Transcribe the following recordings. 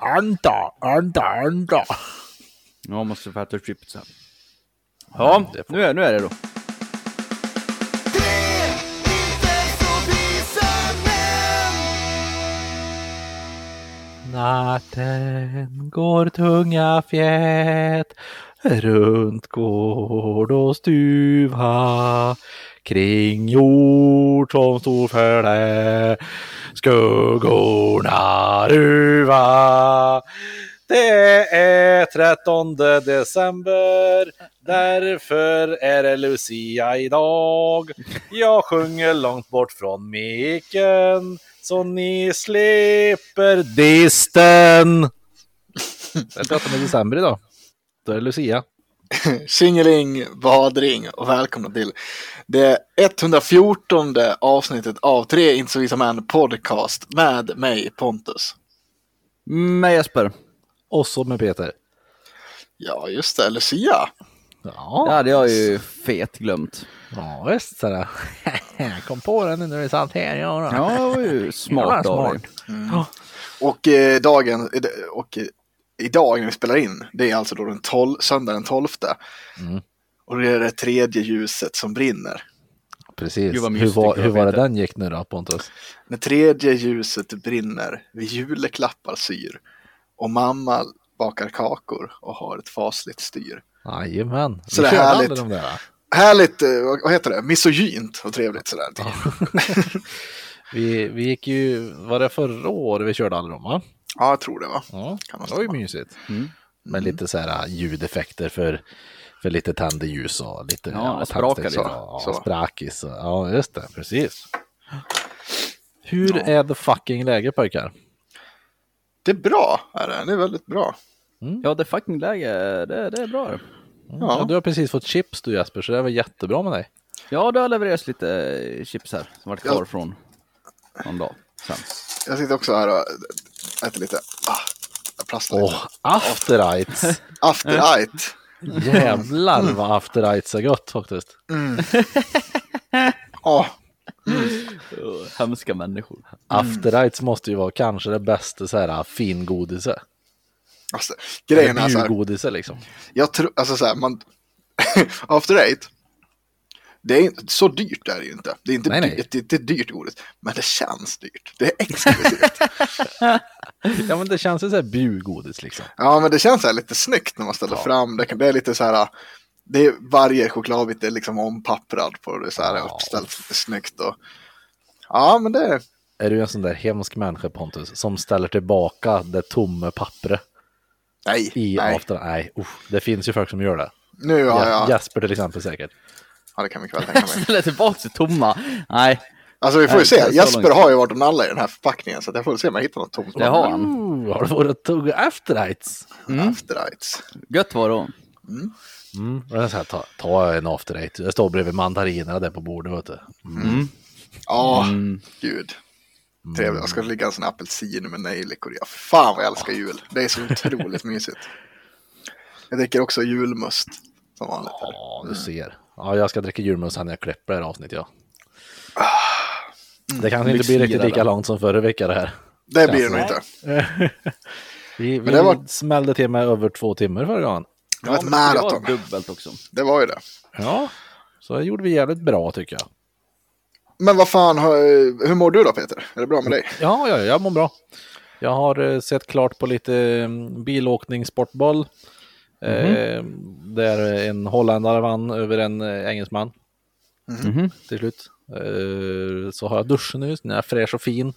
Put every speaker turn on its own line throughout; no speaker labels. Anda, anda, anda.
Ja, måste få äta chips sen. Ja,
det får-
nu är, nu är det då.
Natten går tunga fjät runt gård och stuva kring jord som stor följe skuggorna ruva. Det är 13 december, därför är det Lucia idag. Jag sjunger långt bort från micken så ni slipper disten. Det är 13 december idag. Då är det Lucia.
Tjingeling, badring och välkomna till det 114 avsnittet av Tre inte så visa män podcast med mig Pontus.
Med Jesper.
Och så med Peter.
Ja, just det, Lucia.
Det
Ja,
hade jag ju fet glömt.
ja visst. Så där. Jag kom på den nu när vi satt här. Ja, då.
Ja, det var ju
Jävlar,
smart av dig.
Och eh, dagen, och eh, idag när vi spelar in, det är alltså då den 12, söndag den 12.
Mm.
Och det är det tredje ljuset som brinner.
Precis.
Gud, vad
hur,
mysigt
var,
det
hur var det
heter.
den gick nu då Pontus?
När tredje ljuset brinner, vi juleklappar syr och mamma bakar kakor och har ett fasligt styr.
Jajamän.
Så
Vi
det är
körde
härligt.
aldrig de där.
Härligt, eh, vad vad heter det, misogynt och trevligt sådär.
Vi, vi gick ju, var det förra året vi körde alla de va?
Ja, jag tror det va?
Ja,
Kan man
det var ju
stämma.
mysigt.
Mm.
Med lite så här äh, ljudeffekter för, för lite tände ljus och lite
Ja, det sprakar
tändstick
lite.
Så, ja,
Så.
sprakis. och- Ja, just det. Precis. Hur är the fucking läge pojkar?
Det är bra, är det. det är väldigt bra.
Ja, det fucking läge, det, det är bra.
Ja.
Mm. Ja. Du har precis fått chips du Jesper, så det var jättebra med dig.
Ja, det har levererats lite eh, chips här som varit kvar från någon dag sen.
Jag sitter också här och äter lite ah, jag plastar
Åh,
lite.
after eights!
After eight.
Jävlar vad after eights är gott faktiskt.
Mm. Åh,
Uh, hemska människor.
After eights måste ju vara kanske det bästa så här äh, fingodiset.
alltså, grejen är så här,
Bjudgodiset liksom.
jag tror, alltså så här, man, after eight, det är inte, så dyrt är det ju inte. Det är inte,
Nej, nej.
Dyrt, det är inte dyrt godis, men det känns dyrt. Det är exklusivt.
Ja men det känns ju så här bjudgodis liksom.
ja, men det känns så här lite snyggt när man ställer fram det. kan- Det är lite så här, det är varje chokladbit är liksom ompapprad på det så här
Ja.
uppställt snyggt och ja, men det
Är du en sån där hemsk människa Pontus som ställer tillbaka det tomma pappret
nej,
i
nej.
after? Nej, usch, det finns ju folk som gör det.
Nu har jag...
Ja, Jesper till exempel säkert.
Ja, det kan mycket väl tänka mig.
Ställer tillbaka det tomma. Nej,
Alltså vi får ju
Nej,
se.
det är så
Jesper
långt.
har ju varit och nallat i den här förpackningen så att jag får se om jag hittar något tomt.
det har han.
Ooh, har du varit och tuggat after eights?
After Eights.
Gött var det.
Mm. och det är Så här, ta, ta en after eight. Det står bredvid mandarinerna där på bordet. Vet du.
Ja, gud. Trevligt. Jag ska ligga en sån här apelsin med nejlikor i. Ja, Fan vad jag älskar jul. Det är så otroligt mysigt. Jag dricker också julmust. Som vanligt. här.
Ja, du ser. Ja, jag ska dricka julmust här när jag klipper det här avsnittet. Ja. Det kanske inte blir riktigt
Lyxirare.
lika långt som förra veckan det här.
Det blir det nog inte.
Vi, vi
det var-
smällde till med över två timmar förra gången.
Det var ett
det
maraton.
var dubbelt också.
Det var ju det.
Ja, så det gjorde vi jävligt bra tycker jag.
Men vad fan, har- hur mår du då Peter? Är det bra med dig?
Ja, ja, jag mår bra. Jag har eh, sett klart på lite mm, bilåkning, sportboll.
Mhm.
Eh, där en holländare vann över en eh, engelsman.
Mhm.
Till slut. Eh, så har jag duschen nu, när jag är fräsch och fin.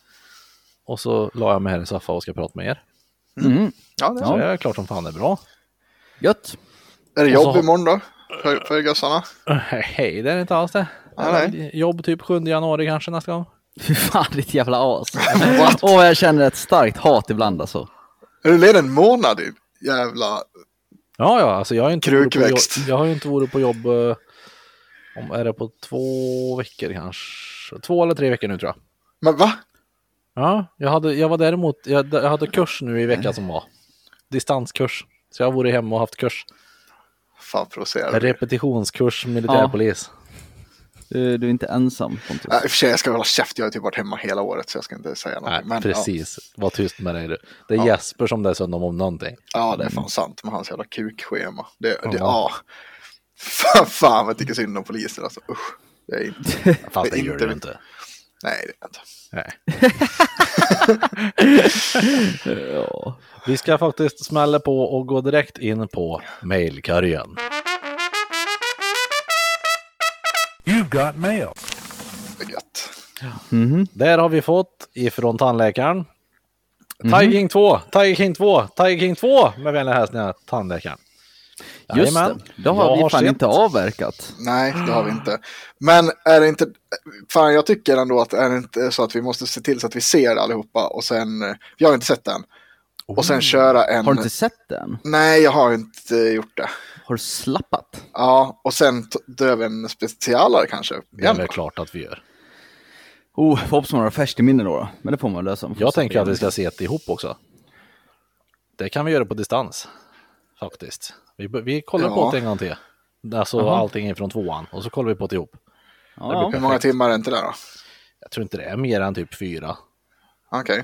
Och så la jag mig här i soffan och ska prata med er.
Mm.
Ja, det är,
Så det
Ja.
är klart som fan är bra.
Gött.
är det
Och
jobb
så-
imorgon då? För, för gossarna?
Hej, det är inte alls det.
Nej,
Jobb typ 7 januari kanske nästa gång.
Fy fan, ditt jävla as. Åh, jag känner ett starkt hat ibland alltså.
Är du ledig en månad din jävla...
Ja, ja, alltså jag har ju inte varit på jobb,
Krukväxt.
jag har ju inte varit på jobb eh, om är det på två veckor kanske. Två eller tre veckor nu tror jag.
Men va?
Ja, jag, hade, jag var däremot, jag, jag hade kurs nu i veckan som var. Distanskurs. Så jag har varit hemma och haft kurs.
Fan provocerande.
Repetitionskurs som militärpolis.
Eh, Du, du är inte ensam Pontus.
Nej, I och för sig, jag ska hålla käft. Jag har typ varit hemma hela året så jag ska inte säga någonting.
Nej,
men,
precis. Var tyst med dig du. Det är
Ja.
Jesper som dessutom om någonting.
Ja, ja, det är fan sant med hans jävla kukschema. Det, det,
Ja.
ja. Fan, fan vad jag tycker synd om poliser alltså. Usch. Det är inte,
Fast det
är
gör du inte.
Nej, det är inte.
Nej.
Ja.
Vi ska faktiskt smälla på och gå direkt in på mailkorgen.
You've got mail.
Det är gött.
Där har vi fått ifrån tandläkaren.
Mhm.
Tiger King 2, Tiger King 2, Tiger King 2 med vänliga hälsningar tandläkaren.
Just
Jajamän.
det. Då har
Jag
vi fan
sett-
inte avverkat.
Nej, det har vi inte. Men är det inte, fan jag tycker ändå att är det inte så att vi måste se till så att vi ser allihopa och sen, eh, jag har inte sett den. Och
Oh.
sen köra en,
Har du inte sett den?
nej jag har inte gjort det.
Har du slappat?
Ja, och sen t- dö vi en specialare kanske.
Det är
igen
väl
då.
klart att vi gör.
Oh, förhoppningsvis har du färskt i minne då, då. Men det får man lösa. Man får
Jag
sätta
tänker att
in.
vi ska se det ihop också. Det kan vi göra på distans. Faktiskt. Vi, vi kollar på
Ja.
det en gång till.
Mhm.
Alltså allting ifrån tvåan och så kollar vi på det ihop.
Ja,
Hur många timmar är inte det då?
Jag tror inte det är mer än typ fyra.
Okej.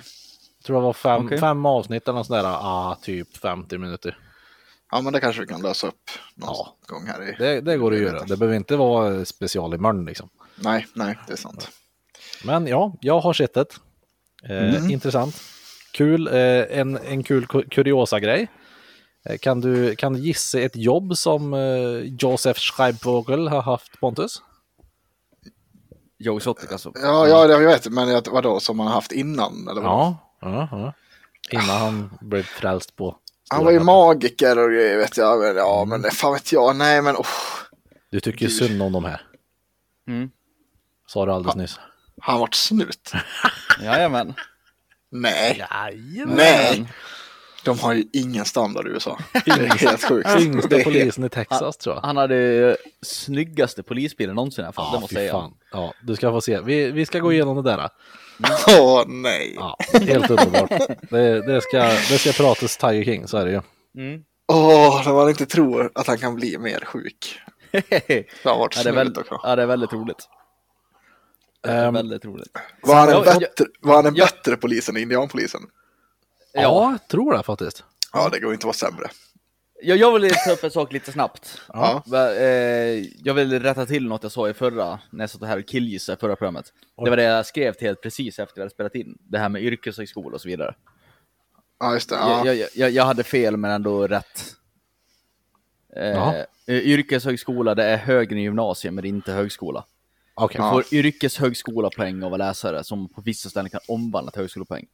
Jag tror det var fem,
Okej.
fem avsnitt eller något sådär. Ah, typ 50 minuter.
Ja, men det kanske vi kan lösa upp någon gång här i.
Det, det går att göra. Det behöver inte vara special i morgon liksom.
Nej, nej, det är sant.
Men ja, jag har sett det. Eh, Intressant. Kul. Eh, en, en kul ku- kuriosa grej. Eh, kan, du, kan du gissa ett jobb som eh, Josef Schreibvogel har haft Pontus?
Joe Exotic alltså.
Ja, ja, det jag vet, men jag- vadå, som man har haft innan? Eller vad?
Ja. ja, ja. Innan han blev frälst på...
Han var ju magiker och grejer vet jag. Men, ja, men det- fan vet jag. Nej, men oh,
Du tycker ju synd om de här.
Mm.
Sa du alldeles nyss.
han vart snut.
Jajamän.
Nej,
Jajamän.
nej. De har ju ingen standard i USA. Det är helt sjukt. Det
Yngsta
är helt-
polisen i Texas tror jag.
Han hade eh, snyggaste polisbilen någonsin i alla fall, det måste jag
fy
säga.
fan. Ja, du ska få se. Vi, vi ska gå igenom det där.
Åh, nej.
Ja, helt underbart. Det, det, ska, det ska pratas Tiger King, så är det ju.
Åh, när man inte tror att han kan bli mer sjuk. Det har varit
ja, det är
snut
väl,
också.
ja, det är väldigt roligt. Det är
Ehm,
väldigt roligt.
Var han en
Ja, ja,
bättre, var han en
ja.
bättre polis än indianpolisen?
Ja, jag tror det faktiskt.
Ja, det går inte att vara sämre.
Jag, jag vill ta upp en sak lite snabbt.
Ja.
Va- eh, Jag vill rätta till något jag sa i förra, när jag satt här och killgissade i förra programmet. Det var det jag skrev till helt precis efter jag hade spelat in. Det här med yrkeshögskola och så vidare.
Ja, just det. Ja.
Jag, jag, jag, jag hade fel men ändå rätt. Eh,
Ja.
eh, yrkeshögskola, det är högre gymnasium men det är inte högskola.
Okej.
Du får yrkeshögskolapoäng av att läsa det, som på vissa ställen kan omvandla till högskolepoäng.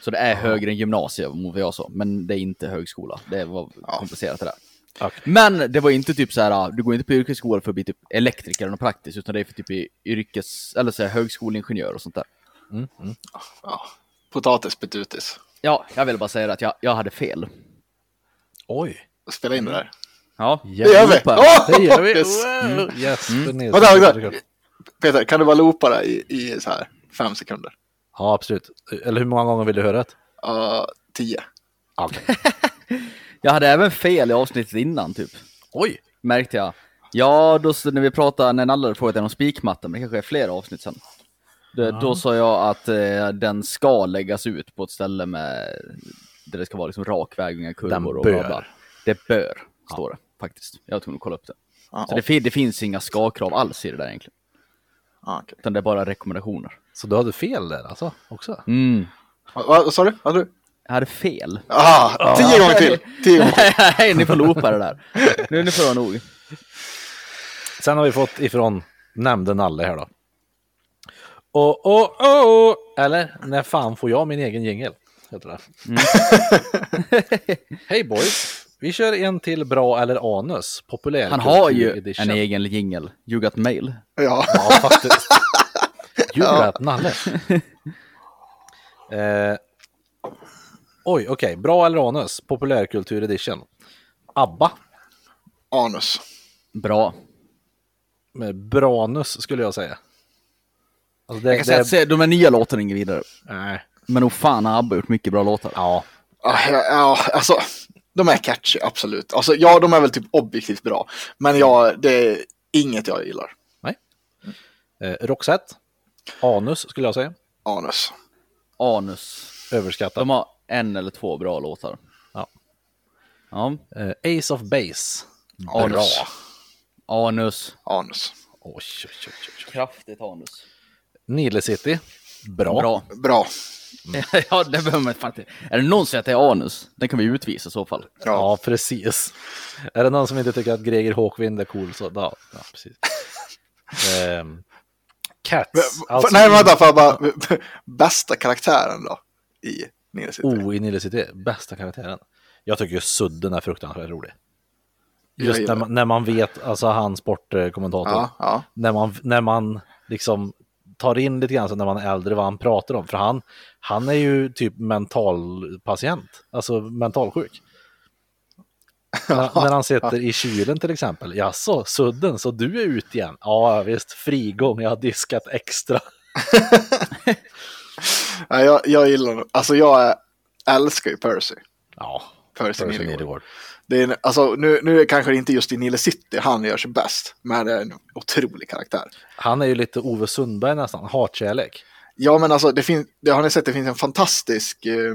Så det är högre än gymnasium, mot vad jag sa, men det är inte högskola. Det var komplicerat det där.
Okej.
Men det var inte typ så här, ah, du går inte på yrkesskola för att bli typ elektriker eller något praktiskt, utan det är för typ i yrkes, eller så här, högskoleingenjör och sånt där.
Ja. Potatis, petutis.
Ja, jag ville bara säga att jag, jag hade fel.
Oj.
Spela in det där.
Ja,
Det
gör vi.
Joppa.
Åh!
Det gör vi.
Yes.
Wow. Yes. Mm.
Vänta, vänta. Peter, kan du bara loopa det i, i så här fem sekunder?
Ja, absolut. Eller hur många gånger vill du höra det?
Uh, tio.
Jag hade även fel i avsnittet innan typ.
Oj.
märkte jag. Ja, då så när vi pratade, när Nalle hade frågat en om spikmattan, men det kanske är flera avsnitt sen. Då, då sa jag att eh, den ska läggas ut på ett ställe med, där det ska vara liksom rak väg, inga kurvor
Den
och
bör.
bla bla. Det bör, står det faktiskt. Jag var tvungen att kolla upp det.
Ja.
Så det, fin- det finns inga ska-krav alls i det där egentligen,
Ah, okay.
utan det är bara rekommendationer.
Så du hade fel där alltså, också?
Mm.
Vad- Vad sa du? Vad sa du?
Jag hade fel.
Ah, tio gånger till! Tio gånger till.
Nej, ni får loopa det där. Nu, nu får det vara nog.
Sen har vi fått ifrån nämnde Nalle här då. Åh, åh, åh! Eller, när fan får jag min egen jingel? Heter det.
Mm.
Hej boys! Vi kör en till bra eller anus. Populär
Han har ju
edition.
en egen jingel, You got mail.
Ja.
Ja, faktiskt. Djuret Nalle. Eh, oj, okej. Bra eller anus? Populärkultur edition. ABBA
Anus.
Bra.
med branus skulle jag säga. Alltså det,
Jag kan säga att se, de här nya låtarna är inget vidare.
nej.
Men nog fan har ABBA gjort mycket bra låtar.
Ja,
Ah, ja, ja, alltså, de är catchy, absolut. Alltså, ja, de är väl typ objektivt bra. Men ja, det är inget jag gillar.
Eh, Roxette. Anus skulle jag säga.
Anus.
Anus.
Överskattat.
De har en eller två bra låtar.
Ja.
Ja.
Eh, Ace of Base.
Anus.
Anus.
Anus.
Oj, oj, oj, oj, oj.
Kraftigt anus.
Nile City. Bra.
Bra.
Bra.
ja, det behöver man fan inte. Är det någon som säger att det är anus? Den kan vi utvisa i så fall.
Ja.
Ja, precis. Är det någon som inte tycker att Greger Håkvind är cool så ja, ja precis. Ehm, Cats. alltså,
V- v- Nej, vänta, får jag bara... Bästa karaktären då? I Nile City.
Oh, i Nile City. Bästa karaktären. Jag tycker ju Sudden är fruktansvärt rolig.
Jag
Just
gillar
när
det.
man, när man vet, alltså han sportkommentator,
Ja, ja.
när, man, när man liksom tar in lite grann så när man är äldre vad han pratar om. För han, han är ju typ mentalpatient, alltså mentalsjuk. när, när han sitter i kylen till exempel. Jaså, Sudden, så du är ut igen? Ja, visst, frigång, jag har diskat extra.
Nej, jag, jag gillar nog- Alltså jag är, älskar ju Percy.
Ja, Percy
Percy, Nilgård.
Nidegård.
Det är, en- alltså, nu, nu är det kanske inte just i Nile City han gör sig bäst, men det är en otrolig karaktär.
Han är ju lite Ove Sundberg nästan, hatkärlek.
Ja, men alltså, det finns, det har ni sett, det finns en fantastisk... Eh,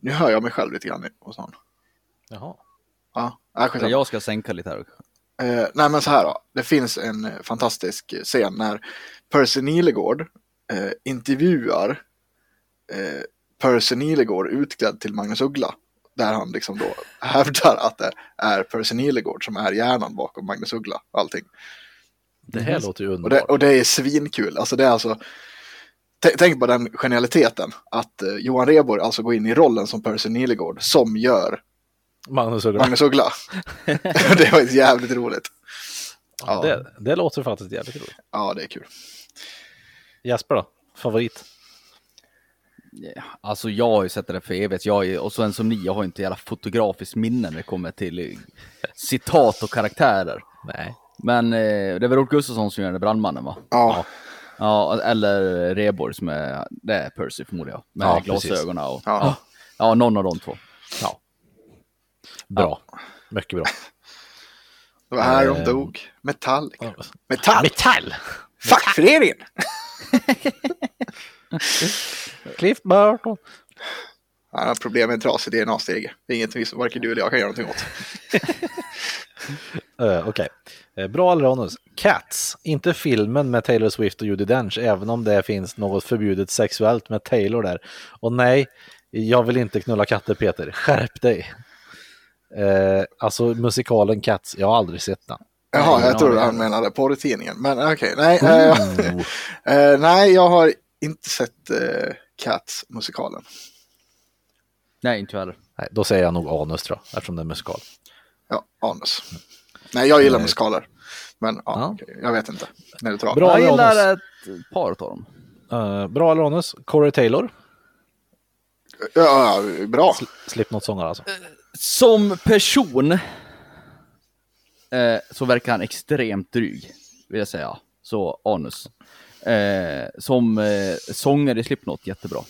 nu hör jag mig själv lite grann hos honom.
Jaha.
Ja, äh, skitsamma.
Jag ska sänka lite här.
Eh, nej men så här då, det finns en eh, fantastisk scen när Percy Nilegård eh, intervjuar eh, Percy Nilegård utklädd till Magnus Uggla. Där han liksom då hävdar att det är Percy Nilegård som är hjärnan bakom Magnus Uggla och allting.
Det här låter ju
Mhm. Och det,
underbart.
och det är svinkul, alltså det är alltså T- Tänk på den genialiteten, att eh, Johan Rheborg alltså går in i rollen som Percy Nilegård som gör
Magnus Uggla.
Magnus Uggla. det var jävligt roligt. Ja.
Det, det låter faktiskt jävligt roligt.
Ja, det är kul.
Jesper då? Favorit?
Ja, Alltså jag har ju sett det där för evigt. Jag är, och sen som ni, jag har ju inte jävla fotografiskt minne när det kommer till eh, citat och karaktärer.
Nej.
Men eh, det är väl Rolf Gustafsson som gör den brandmannen va?
Ja,
Ja, eller Rebor som är, det är Percy förmodligen. Med
Ja,
glasögonen och...
Ja.
Ja. ja, någon av de två.
Ja. Bra. Mycket bra.
det var här de
Ehm.
dog. Metallica. Metall!
Metall!
Fackföreningen!
Cliff Burton.
Han har problem med en trasig DNA-stege. Det är ingenting som varken du eller jag kan göra någonting åt.
Eh, Okej. Eh, bra allrounders. Cats. Inte filmen med Taylor Swift och Judi Dench, även om det finns något förbjudet sexuellt med Taylor där. Och nej, jag vill inte knulla katter, Peter. Skärp dig. Eh, alltså musikalen Cats, jag har aldrig sett den.
Jaha,
Nej,
jag trodde
ja,
han menade porrtidningen. Men okej, nej.
Mm.
eh, eh, nej, jag har inte sett eh, Cats-musikalen.
Nej, inte jag heller.
Nej, då säger jag nog anus tror jag, eftersom det är musikal.
Ja, anus. Nej, jag gillar
Eh.
musikaler. Men ja,
Ja.
okej, jag vet inte. Neutral.
Bra.
jag
Janus.
gillar ett par av dem.
Eh, bra allrounders. Corey Taylor.
Ja, ja, bra.
Slipknot-sångare alltså.
Som person eh, så verkar han extremt dryg, vill jag säga. Så anus. Eh, som eh, sångare i Slipknot, jättebra.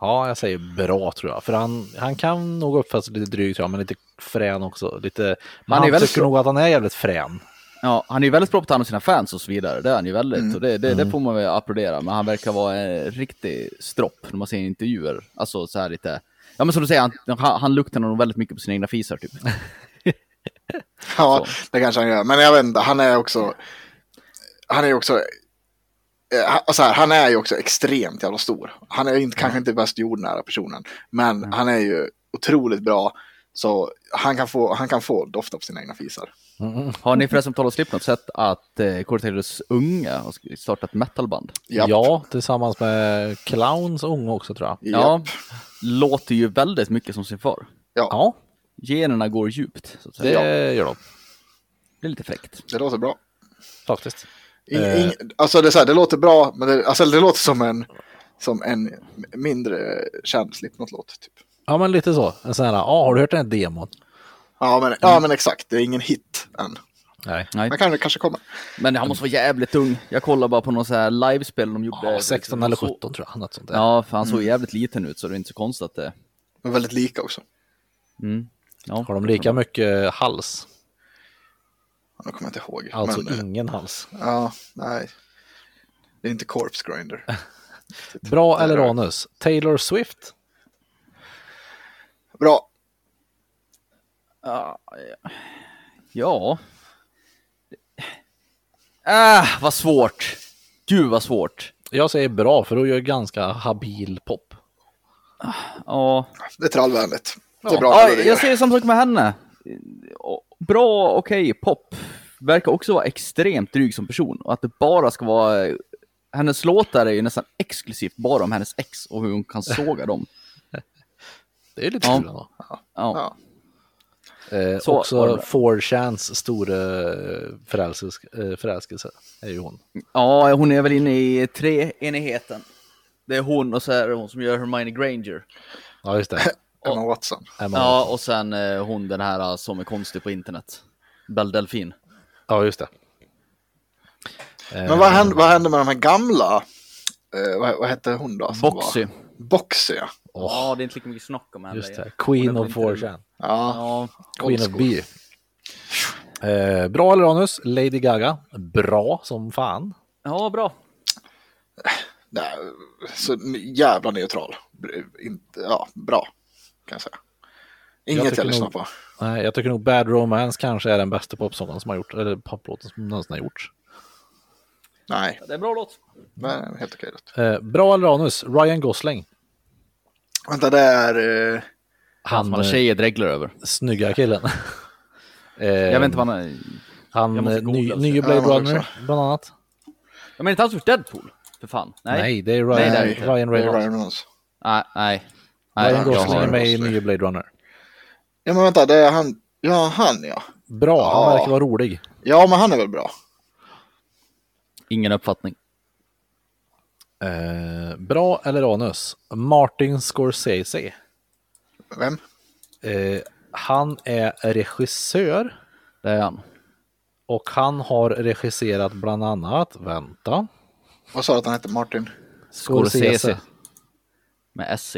Ja, jag säger bra tror jag. För han, han kan nog uppfattas lite dryg tror jag, men lite frän också. Lite... Men han,
är väldigt
tycker
bra.
nog att han är jävligt frän.
Ja, han är ju väldigt bra på att ta hand om sina fans och så vidare. Det är han ju väldigt.
Mm.
Och det, det, det får man väl applådera. Men han verkar vara en riktig stropp när man ser intervjuer. Alltså så här lite... Ja men som du säger, han, han, han luktar nog väldigt mycket på sina egna fisar typ.
Ja, det kanske han gör. Men jag vet inte, han är också... Han är också... eh, han- Så här, han är ju också extremt jävla stor. Han är ju inte, kanske inte bäst jordnära personen, men han är ju otroligt bra. Så han kan få, han kan få dofta på sina egna fisar.
Har ni förresten på tal om Slipknot sett att eh, Corey Taylors unga har startat metalband?
Japp.
Ja, tillsammans med Clowns unge också tror jag.
Ja,
Japp.
låter ju väldigt mycket som sin far.
Ja,
Generna går djupt. Så att
det
säga. Det...
gör de
är lite fräckt.
Det låter bra.
faktiskt.
I,
Eh.
ing- alltså det, är så här, det låter bra, men det, alltså det låter som en, som en mindre känd Slipknot-låt. Typ.
Ja, men lite så. En sån här, ja, har du hört den här demon?
Ja, men, ja,
Mm.
men exakt. Det är ingen hit än.
Nej.
Nej.
Men kanske, kanske kommer.
Men han måste vara jävligt ung. Jag kollade bara på någon så här livespel de gjorde.
Ja, 16 eller Mm. 17
Så-
tror jag. Något sånt där.
Ja, för han såg jävligt liten ut så det är inte så konstigt att det...
Men väldigt lika också.
Mm. Ja.
Har de lika mycket hals?
Nu kommer jag inte ihåg.
Alltså
men, eh,
ingen hals.
Ja, nej. Det är inte Corpse Grinder.
Bra eller anus? Taylor Swift?
Bra.
Ja. ja. Ah, vad svårt. Gud vad svårt.
Jag säger bra, för hon gör ganska habil pop.
Ja.
Det är trallvänligt. Det är bra.
Ja,
melodier.
jag säger samma sak med henne. Bra, okej, pop. Verkar också vara extremt dryg som person. Och att det bara ska vara... Hennes låtar är ju nästan exklusivt bara om hennes ex och hur hon kan såga dem.
Det är lite
Ja.
kul ändå.
Ja.
Ja.
Eh,
Så var det
också
bra. 4chans stora
förälskelse, eh, förälskelse är ju hon.
ja, hon är väl inne i treenigheten. Det är hon och så är det hon som gör Hermione Granger.
Ja, just det.
Emma Watson.
Emma
Ja, och sen eh, hon den här eh, som är konstig på internet. Belle Delfin.
ja just det. Eh,
Men vad hände, vad hände med de här gamla? Eh, vad, vad hette hon då? som
Boxy.
var- Boxy, ja.
Ja, det är inte lika mycket snack om henne.
Just det. Queen
Hon är
of
väl inte-
4chan.
ja.
Ja,
Queen of B. Eh, bra eller anus? Lady Gaga. Bra som fan.
ja bra.
Nej, så n- jävla neutral. Br- Inte, ja, bra, kan jag säga. Inget jag,
tycker
lyssnar
nog-
på.
Nej, jag tycker nog Bad Romance kanske är den bästa popsången som har gjorts, eller poplåten som någonsin har gjorts.
Nej,
Det är en bra låt.
men helt okej. det.
Eh, bra eller anus? Ryan Gosling.
Vänta, det är... eh,
Han som
Han
alla
eh,
tjejer dreglar över.
snygga killen. eh,
Jag vet inte vad han är.
han
jag måste
eh, ny,
googla,
nye
så. Ja,
Blade
jag
Runner bland annat.
Jag menar inte han som gjort Deadpool. För fan. Nej.
Nej,
Nej.
det är Ryan,
Nej, det är inte.
Ryan
det är
Reynolds.
Ryan Reynolds.
Nej. nej.
Ryan
jag
Gosling
har-
är med i
Gosling.
nye Blade Runner.
Ja, men vänta, det är han. Ja, han ja.
Bra, han
Ja.
verkar vara rolig.
Ja, men han är väl bra.
Ingen uppfattning.
Eh, bra eller anus? Martin Scorsese.
Vem?
Eh, han är regissör
Det är han.
och han har regisserat bland annat, vänta,
Vad sa du att han hette? Martin?
Scorsese.
Scorsese. Med SC.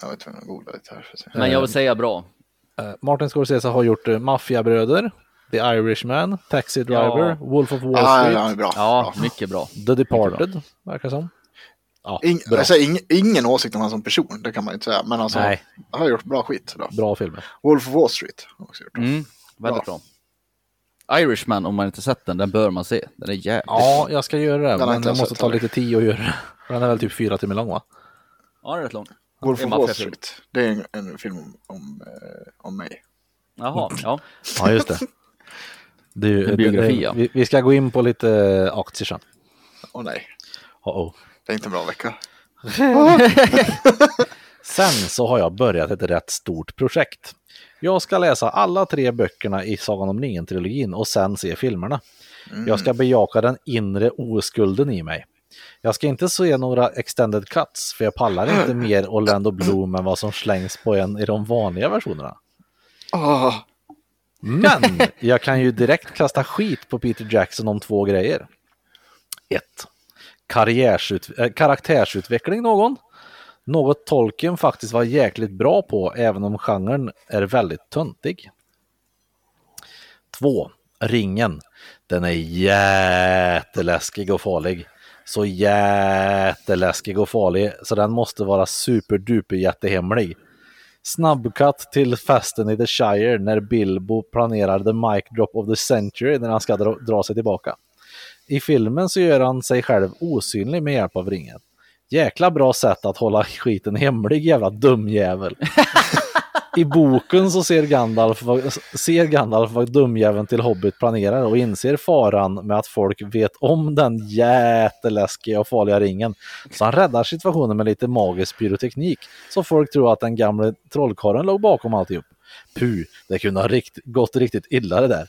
Jag vet inte, jag googlar lite här. För att se.
Men jag vill säga bra.
Eh, Martin Scorsese har gjort eh, Maffiabröder, The Irishman, Taxi Driver,
Ja.
Wolf of Wall
Ah, ja,
Street,
ja, han är bra.
Ja, mycket bra.
The Departed, verkar som. Ja,
Ing,
bra.
alltså, ing, ingen åsikt om han som person, det kan man ju inte säga. Men alltså,
Nej.
han har gjort bra skit. Då.
bra filmer.
Wolf of Wall Street har han också gjort.
Mm, väldigt bra. Irishman, om man inte sett den, den bör man se. Den är jävligt
Ja, jag ska göra det,
har
men
inte
jag
jag
måste
sett
ta
heller.
lite tid att göra det. Den är väl typ fyra timmar lång va?
Ja, den är rätt lång.
Wolf
Det är
of Wall
maffiafilm.
Street. Det är en, en film om, om, eh, om mig.
Jaha, ja.
Ja, just det. det, är ju-
En biografi,
det- det-
ja.
vi, vi ska gå in på lite eh, aktier sen.
Åh nej,
Oh, oh.
det är inte en bra vecka.
Sen så har jag börjat ett rätt stort projekt. Jag ska läsa alla tre böckerna i Sagan om ringen-trilogin och sen se filmerna.
Mm.
Jag ska bejaka den inre oskulden i mig. Jag ska inte se några extended cuts, för jag pallar inte mer Orlando Bloom än vad som slängs på en i de vanliga versionerna.
Åh,
Men jag kan ju direkt kasta skit på Peter Jackson om två grejer. Ett, Karriärsut- äh, karaktärsutveckling någon. Något Tolkien faktiskt var jäkligt bra på, även om genren är väldigt töntig. Två, Ringen. Den är jätteläskig och farlig. Så jätteläskig och farlig, så den måste vara superduper jättehemlig. Snabbkatt till festen i The Shire när Bilbo planerar the mic drop of the century när han ska dra, dra sig tillbaka. I filmen så gör han sig själv osynlig med hjälp av ringen. Jäkla bra sätt att hålla skiten hemlig jävla dumjävel. I boken så ser Gandalf, vad- ser Gandalf vad dumjäveln till Hobbit planerar och inser faran med att folk vet om den jätteläskiga och farliga ringen. Så han räddar situationen med lite magisk pyroteknik så folk tror att den gamle trollkarlen låg bakom alltihop. Puh, det kunde ha rikt, gått riktigt illa det där.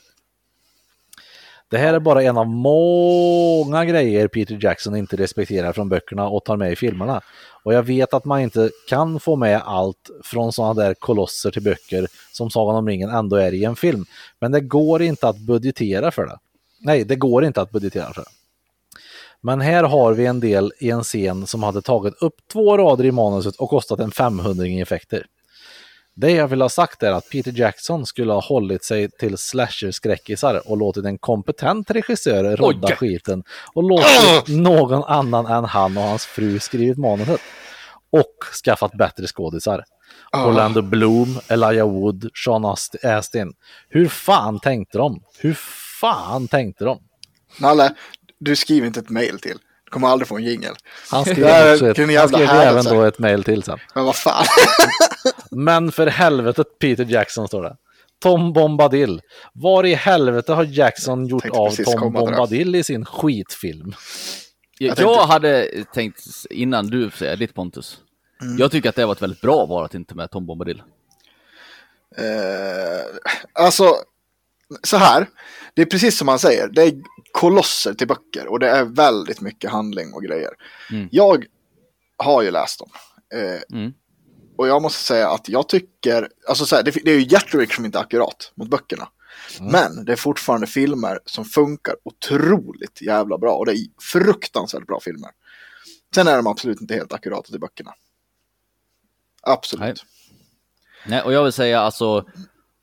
Det här är bara en av många grejer Peter Jackson inte respekterar från böckerna och tar med i filmerna. Och jag vet att man inte kan få med allt från sådana där kolosser till böcker som Sagan om ringen ändå är i en film. Men det går inte att budgetera för det. Nej, det går inte att budgetera för det. Men här har vi en del i en scen som hade tagit upp två rader i manuset och kostat en 500 i effekter. Det jag vill ha sagt är att Peter Jackson skulle ha hållit sig till slasher-skräckisar och låtit en kompetent regissör rodda
Oj.
skiten och låtit någon annan än han och hans fru skrivit manuset. Och skaffat bättre skådisar.
Ah.
Orlando Bloom, Elijah Wood, Sean Ast- Astin. Hur fan tänkte de? Hur fan tänkte de?
Nalle, du skriver inte ett mejl till. Du kommer aldrig få en jingel.
Han skrev,
Det här
också ett,
kunde
han
jävla
skrev
härligt
även
sagt.
då ett mejl till sen.
Men vad fan.
Men för helvetet Peter Jackson står det. Tom Bombadil. Var i helvete har Jackson gjort
tänkte
av
precis
Tom
komma till det.
Bombadil i sin skitfilm?
Jag,
Jag tänkte-
jag hade tänkt, innan du säger ditt Pontus,
Mm.
jag tycker att det var ett väldigt bra val att inte med Tom Bombadil.
Eh, alltså, så här. Det är precis som han säger. Det är kolosser till böcker och det är väldigt mycket handling och grejer.
Mm.
Jag har ju läst dem. Eh,
Mm.
Och jag måste säga att jag tycker, alltså så här, det, det är ju Jertovic som inte är akkurat mot böckerna.
Mm.
Men det är fortfarande filmer som funkar otroligt jävla bra och det är fruktansvärt bra filmer. Sen är de absolut inte helt akkurata till böckerna. Absolut.
Nej. Nej, och jag vill säga alltså,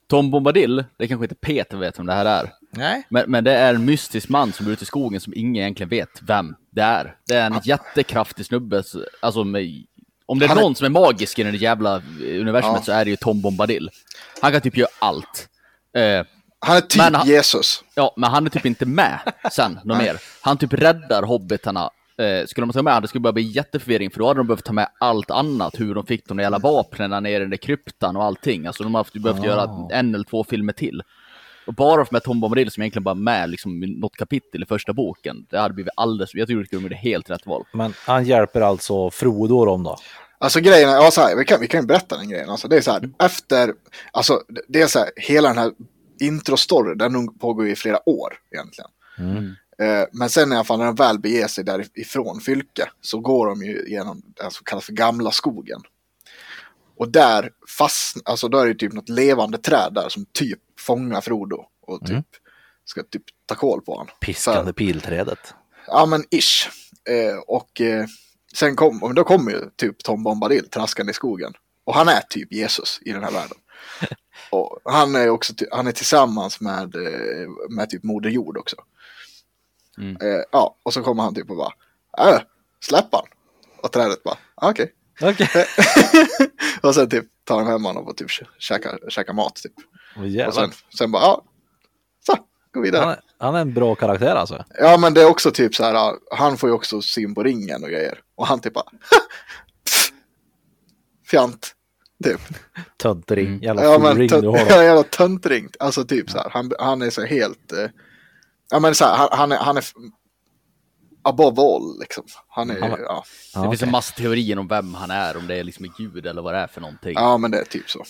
Tom Bombadil, det kanske inte Peter vet vem det här är.
Nej.
Men, men det är en mystisk man som är ute i skogen som ingen egentligen vet vem det är. Det är en jättekraftig snubbe. så- Alltså, med, om det är
Han är-
någon som är magisk i det jävla eh, universumet
Ja.
så är det ju Tom Bombadil. Han kan typ göra allt. Eh,
Han är typ
Men han-
Jesus.
ja, men han är typ inte med sen något mer. Han typ räddar hobbitarna. Eh, skulle de ta med han, det skulle bara bli jätteförvirring för då hade de behövt ta med allt annat. Hur de fick de där jävla
Mm.
vapnen nere i den där kryptan och allting. Alltså de har haft, behövt
Ah.
göra en eller två filmer till. Och bara för med Tom Bombadil som egentligen bara är med liksom, i något kapitel i första boken. Det hade blivit alldeles, jag tror att de gjorde helt rätt val.
Men han hjälper alltså Frodo dem då?
Alltså grejen är, ja, så här, vi, kan, vi kan ju berätta den grejen. Alltså, det är så här, efter, alltså det- det är så här, hela den här introstoryn, den pågår ju i flera år egentligen.
Mm.
Eh, men sen i alla fall när de väl beger sig därifrån Fylke så går de ju genom den som kallas för gamla skogen. Och där fastnar, alltså då är det ju typ något levande träd där som typ fångar Frodo och typ ska typ ta koll på honom. Så
Piskande pilträdet.
Ja, men ish. Eh, och eh, sen kom, och då kommer ju typ Tom Bombadil traskande i skogen. Och han är typ Jesus i den här världen. Och han är också ty- han är tillsammans med, eh, med typ Moder Jord också.
Mm.
Eh, ja, och så kommer han typ och bara, äh, släpp han. Och trädet bara, "Ah, okej.
Okej.
Och sen typ tar han hem honom och typ kä- käkar, käkar mat typ. Och sen,
Jävlar.
sen bara, ja, så, gå vidare.
Han, är- han är en bra karaktär alltså.
Ja men det är också typ så här, ja, han får ju också syn på ringen och grejer. Och han typ bara, "Pff, fjant. Typ.
Töntring. Jävla
Ja men
furing du har. då.
ja, jävla töntring. Alltså typ så här, han, han är så helt, eh, ja men så här, han, han är, han är f- above all liksom. Han är,
Han var-
ja.
Det
Ja,
finns
Ah, okej.
en massa teorier om vem han är, om det är liksom en gud eller vad det är för någonting.
Ah.
ja men det är typ så.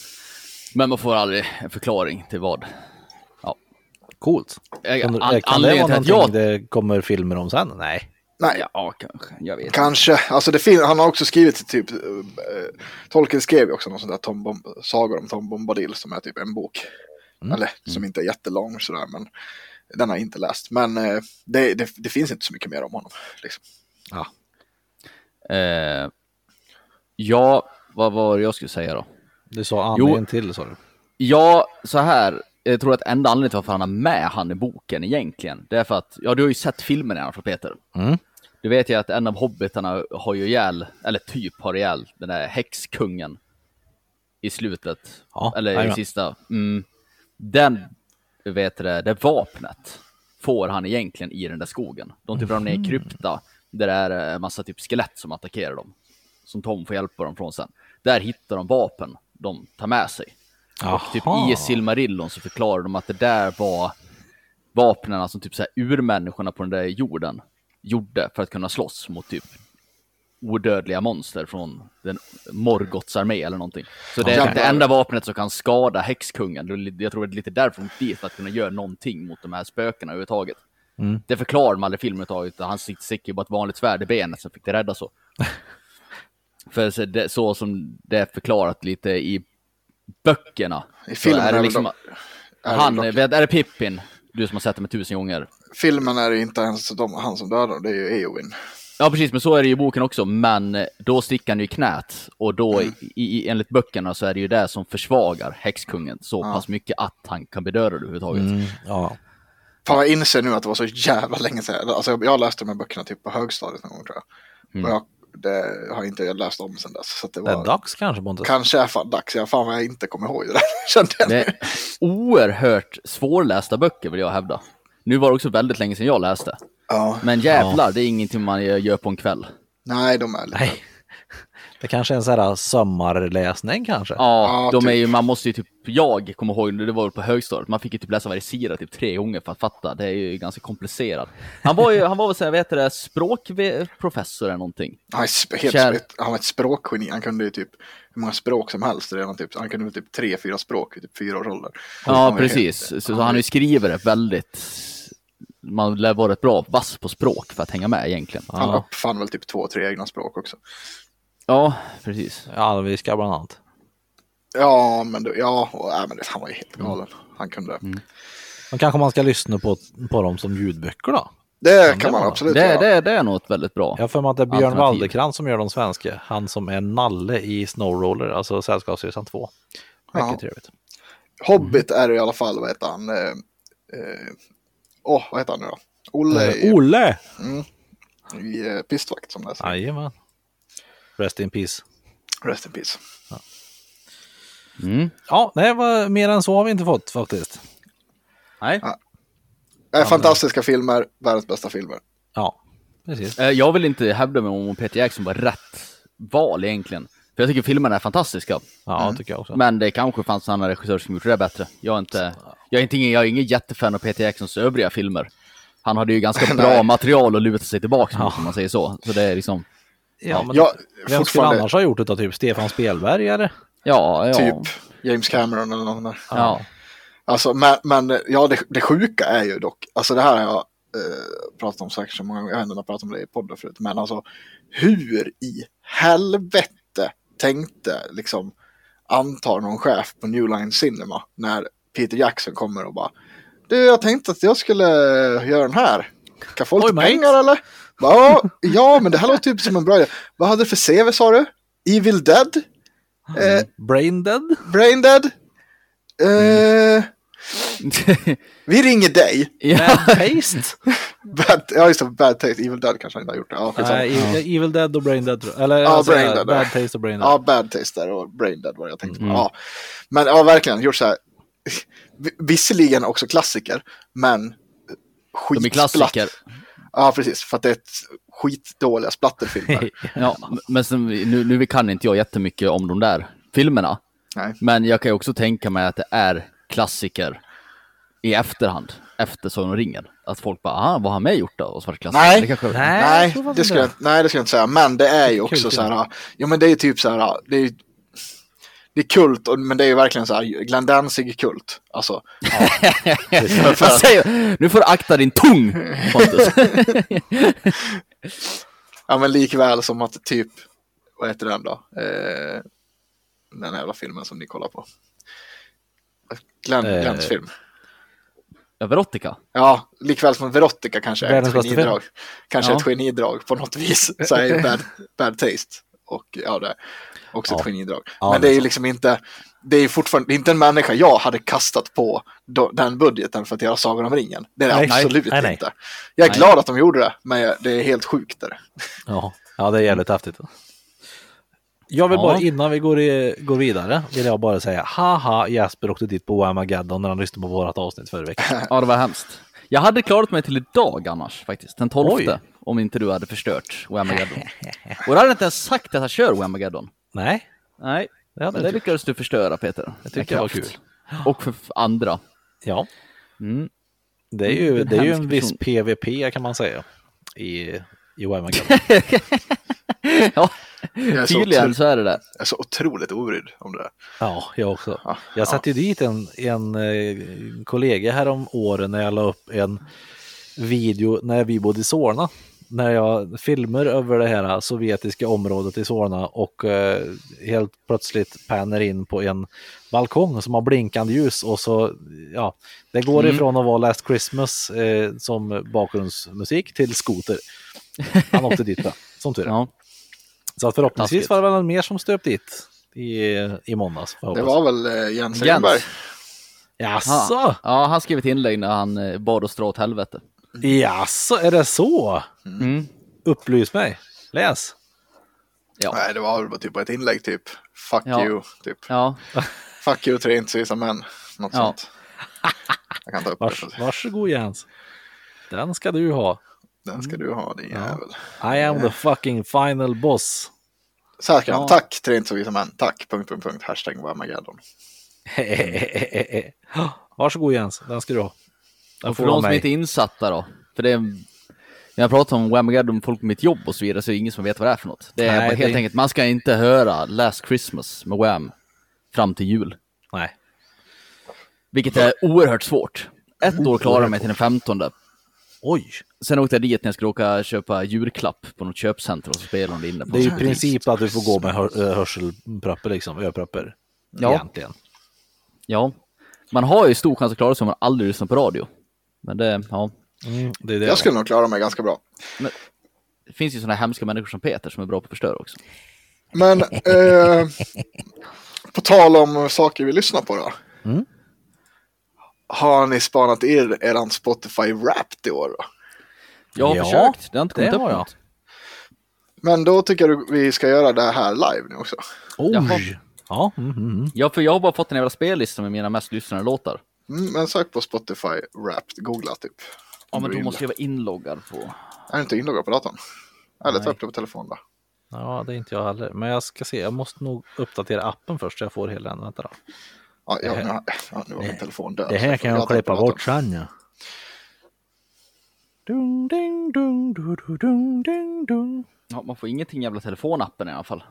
Men man får aldrig en förklaring till vad.
Coolt.
Eh,
Undrar-
an-
kan det
anledningen
vara
till att
någonting
jag
det kommer filmer om sen? Nej.
Nej,
Ja, kanske. Jag vet
kanske. Alltså det fin- han har också skrivit typ, eh, Tolkien skrev ju också någon sån där Tom Bomb- sagor om Tom Bombadil som är typ en bok. Eller som inte är jättelång sådär men den har jag inte läst. Men eh, det, det, det finns inte så mycket mer om honom. Liksom.
Ja.
Eh, ja, vad var det jag skulle säga då?
Du sa anledningen till sa du.
Ja, så här. Jag tror att enda anledningen till varför han har med han i boken egentligen, det är för att, ja du har ju sett filmen i alla fall Peter.
Mm.
Du vet ju att en av hobbitarna har ju ihjäl, eller typ har ihjäl, den där häxkungen. I slutet.
Ja,
eller i
jajamän.
sista. Mm, den, vet du det, det vapnet får han egentligen i den där skogen. De typ ramlar
Mhm.
ner i krypta. Där det är en massa typ skelett som attackerar dem. Som Tom får hjälpa dem från sen. Där hittar de vapen de tar med sig. Och typ
Jaha.
i Silmarillon så förklarar de att det där var vapnen som typ så här urmänniskorna på den där jorden gjorde för att kunna slåss mot typ odödliga monster från den Morgots armé eller någonting. Så det är
Okej.
det enda vapnet som kan skada häxkungen. Det är li- Jag tror det är lite därför de dit, för att kunna göra någonting mot de här spökena överhuvudtaget. Det förklarar man aldrig i filmen överhuvudtaget. utan Han sitter- sticker ju bara ett vanligt svärd i benet, sen fick det rädda så. för så, det, så som det är förklarat lite i böckerna.
I
så
filmen är det dock- är det
han,
dock-
vet, är det Pippin? Du som har sett det med tusen gånger.
Filmen är det inte ens de, han som dödar, det är ju Eowyn.
Ja, precis, men så är det ju i boken också, men eh, då sticker han ju i knät och då
Mm.
i, i, enligt böckerna så är det ju det som försvagar häxkungen så pass mycket att han kan bedöva överhuvudtaget.
Mm, ja.
Fan, jag inser nu att det var så jävla länge sedan. Alltså, jag läste de här böckerna typ på högstadiet någon gång tror jag. Och jag det har inte jag läst om sedan dess. Så att det
Det är
var,
dags kanske Pontus.
Alltså.
kanske är fan dags. Jag fan vad jag inte kommer ihåg det där. Kände jag.
Det är oerhört svårlästa böcker vill jag hävda. Nu var det också väldigt länge sedan jag läste.
Ja.
Men jävlar, det är ingenting man gör på en kväll.
Nej, de är lite...
Nej. Det kanske är en sån här sommarläsning kanske.
Ja,
Ja,
de är
typ.
ju, man måste ju typ, jag kommer ihåg när det var på högstadiet, man fick ju typ läsa varje sida typ tre gånger för att fatta, det är ju ganska komplicerat. Han var ju, han var väl såhär, vad heter det, språkprofessor eller någonting.
Han, är sp- helt,
Kär-
ett- han var ett språkgeni. Han kunde ju typ hur många språk som helst. Redan typ, han kunde väl typ tre, fyra språk i typ fyra års ålder. Han
Ja,
var ju
precis.
helt-
Så, så han är ju skrivare väldigt, man lär vara rätt bra vass på språk för att hänga med egentligen.
Han
Ja.
uppfann väl typ två, tre egna språk också.
Ja, precis.
Alviska bland annat.
Ja, men, det, ja, och, äh, men det, han var ju helt
Mm.
galen. Han kunde.
Men kanske man ska lyssna på, på dem som ljudböcker då?
Det kan
det
man
var-
absolut
Det,
göra.
det, det är något väldigt bra.
Jag har för mig att det är Björn
Alternativ.
Walderkrantz som gör de svenska. Han som är Nalle i Snowroller, alltså Sällskapsresan 2. Mycket
Ja.
trevligt.
Hobbit är det i alla fall, vad heter han? Åh, eh, eh, åh, vad heter han nu då? Olle i,
Eh, Olle!
i eh, Pistvakt som läser.
Jajamän. Rest in peace.
Rest in peace.
Mm.
Ja, nej, vad, mer än så har vi inte fått faktiskt.
Nej.
Det är Äh, fantastiska filmer, världens bästa filmer.
Ja, precis.
Eh, Jag vill inte hävda mig om Peter Jackson var rätt val egentligen. För jag tycker filmerna är fantastiska.
Ja, tycker jag också.
Mm. Men det kanske fanns en annan regissör som gjorde det bättre. Jag är inte, jag är inte ingen, jag är ingen jättefan av Peter Jacksons övriga filmer. Han hade ju ganska bra
Nej.
material att luta sig tillbaka mot om man säger så. Så det är liksom,
ja, men
Ja,
vem skulle
fortfarande-
annars ha gjort det då? Typ Stefan Spelberg eller?
ja, ja.
Typ James Cameron eller någon där.
Ja.
Alltså, men, men ja, det, det sjuka är ju dock, alltså det här har jag eh, pratat om säkert så många gånger, jag har ändå pratat om det i podden förut, men alltså hur i helvete tänkte liksom antar någon chef på New Line Cinema när Peter Jackson kommer och bara du, jag tänkte att jag skulle göra den här. Kan få
Oj,
lite
mate.
pengar eller? Ja, ja, men det här låter ju som en bra idé. Vad hade du för CV sa du? Evil Dead?
Mm.
Eh,
Braindead?
Brain Dead? Eh,
Mm.
vi ringer dig.
ja.
Bad Taste? Liksom.
Bad, ja, just det. Bad Taste. Evil Dead kanske han inte har gjort det. Ja, skitsamma.
Nej, Evil- Evil Dead och Braindead. tror jag. Eller
Ja,
alltså,
Brain Dead,
Bad
ja.
Taste och Braindead.
ja, Bad Taste där och Brain Dead var det jag tänkte på. Ja. Men ja, verkligen. Gjort så här. vi- Visserligen också klassiker, men
De är klassiker.
skitsplatt. Ja, precis. För att det är ett skitdåliga splatterfilmer.
Ja, men sen, nu, nu kan inte jag jättemycket om de där filmerna.
Nej.
Men jag kan ju också tänka mig att det är klassiker i efterhand, efter Sagan om ringen. Att folk bara, aha, vad har han med gjort då? Och så var det klassiker.
Nej.
Det kanske...
Nej, jag
Nej,
tror fan
det skulle jag,
inte.
nej, det skulle jag inte säga. Men det är ju också
kul.
så här. Ja, men det är ju typ så här. Det är, ju- det är kult, och- men det är ju verkligen så här. Glenn Danzig-kult. Alltså,
Vad säger du? Nu får du akta din tung, Pontus.
Ja men likväl som att typ, vad heter den då? Eh, den jävla filmen som ni kollar på. Glenn,
Eh.
Glenns film.
Verotica.
Ja, likväl som Verotica kanske är
Världens
ett
bästa film.
genidrag. Kanske
Ja.
ett genidrag på något vis. Så är ju bad, bad taste. Och ja, det är också ett genidrag.
Ja,
men
det
det
är
är ju liksom inte, det är ju fortfarande, det är inte en människa jag hade kastat på do, den budgeten för att göra Sagan om ringen. Det är det
Nej, nej,
absolut
nej, nej.
inte. Jag är
Nej.
glad att de gjorde det, men det är helt sjukt. Där.
Ja, ja det är jävligt häftigt. Jag vill
Ja.
bara, innan vi går, i, går vidare, vill jag bara säga haha Jesper åkte dit på Whamageddon när han lyssnade på vårat avsnitt förra veckan.
Ja, det var hemskt. Jag hade klarat mig till idag annars, faktiskt. Den 12.
Oj.
Om inte du hade förstört Whamageddon. Och då hade jag inte ens sagt att jag kör Whamageddon.
Nej,
Nej,
det hade jag
men det
inte gjort.
lyckades du förstöra, Peter.
Jag tycker det var
Med kraft.
kul.
Och för f- andra.
Ja,
Mm.
det är ju,
En
det är ju
hemsk
en viss
person.
PVP kan man säga i, i Whamageddon.
Ja,
är så
tydligen
otroligt-
så är det det.
Jag är så otroligt obrydd om det.
Ja, jag också.
Ja,
Jag satte ju dit en, en eh, kollega härom åren när jag la upp en video när vi bodde i Solna. när jag filmer över det här sovjetiska området i Solna och eh, helt plötsligt panner in på en balkong som har blinkande ljus och så, ja, det går
Mm.
ifrån att vara Last Christmas eh, som bakgrundsmusik till skoter. Han åkte dit då, som tur är.
Ja.
Så att förhoppningsvis
Taskigt.
var det väl någon mer som stöp dit i, i måndags. får jag
Det
hoppas.
var väl eh, Jens
Jens.
Engberg?
Jaså?
Ja, han skrev ett inlägg när han eh, bad oss dra åt helvete.
Jaså, är det så?
Mm.
Upplys mig. Läs.
Ja.
Nej, det var väl bara typ ett inlägg typ. Fuck
Ja.
you, typ.
Ja,
Fuck you, tre inte som män. Något
Ja.
sånt. Jag kan ta upp
Vars,
det.
varsågod Jens. Den ska du ha.
Den ska du ha, din jävel.
I am the fucking final boss.
Så här ska han.
Ja.
Tack, tre inte så visa män. Tack, punkt, punkt, punkt. Hashtag var Armageddon.
Varsågod Jens, den ska du ha. Den
och
får
för
du av
de som
mig.
inte är insatta då. För det är, när jag pratar om Whamageddon, folk på mitt jobb och så vidare, så är det ingen som vet vad det är för något. Det är
Nej,
bara helt
det-
enkelt, man ska inte höra Last Christmas med Wham fram till jul.
Nej.
Vilket är oerhört svårt. Ett år klarade jag mig till den 15.
Oj,
Sen åkte jag dit när jag skulle åka köpa julklapp på något köpcenter och så spelade de det inne på
det är ju i
något
princip att du får gå med hör, eh, hörselpropper liksom, överpropper.
Ja.
Egentligen.
Ja. Man har ju stor chans att klara sig om man aldrig lyssnar på radio. Men det, ja.
Mm, det är det.
Jag skulle nog klara mig ganska bra.
Det finns ju sådana hemska människor som Peter som är bra på att förstöra också.
Men eh, på tal om saker vi lyssnar på då.
Mm.
Har ni spanat er eran Spotify Wrapped i år då?
Jag har
Ja,
försökt, det har inte
det
kommit upp
har jag.
något.
Men då tycker jag vi ska göra det här live nu också.
Jaha.
Oj! Ja, mm, mm, mm.
Ja, för jag har bara fått en jävla spellista med mina mest lyssnade låtar.
Mm, men sök på Spotify Wrapped, googla typ.
Ja, men
Du
då
är
måste jag vara inloggad på...
Är du inte inloggad på datorn? Eller ta
Nej.
upp det på telefonen då.
ja, det är inte jag heller. Men jag ska se, jag måste nog uppdatera appen först så jag får hela den. Vänta då.
Ja, ja,
Det här-
nu har- ja, nu var min telefon död.
Det
så
här
får
kan jag
prata på
klippa
datorn.
bort sen ja. Dung, ding, dung, du, du, dung, ding, dung.
Ja, man får ingenting i jävla telefonappen i alla fall.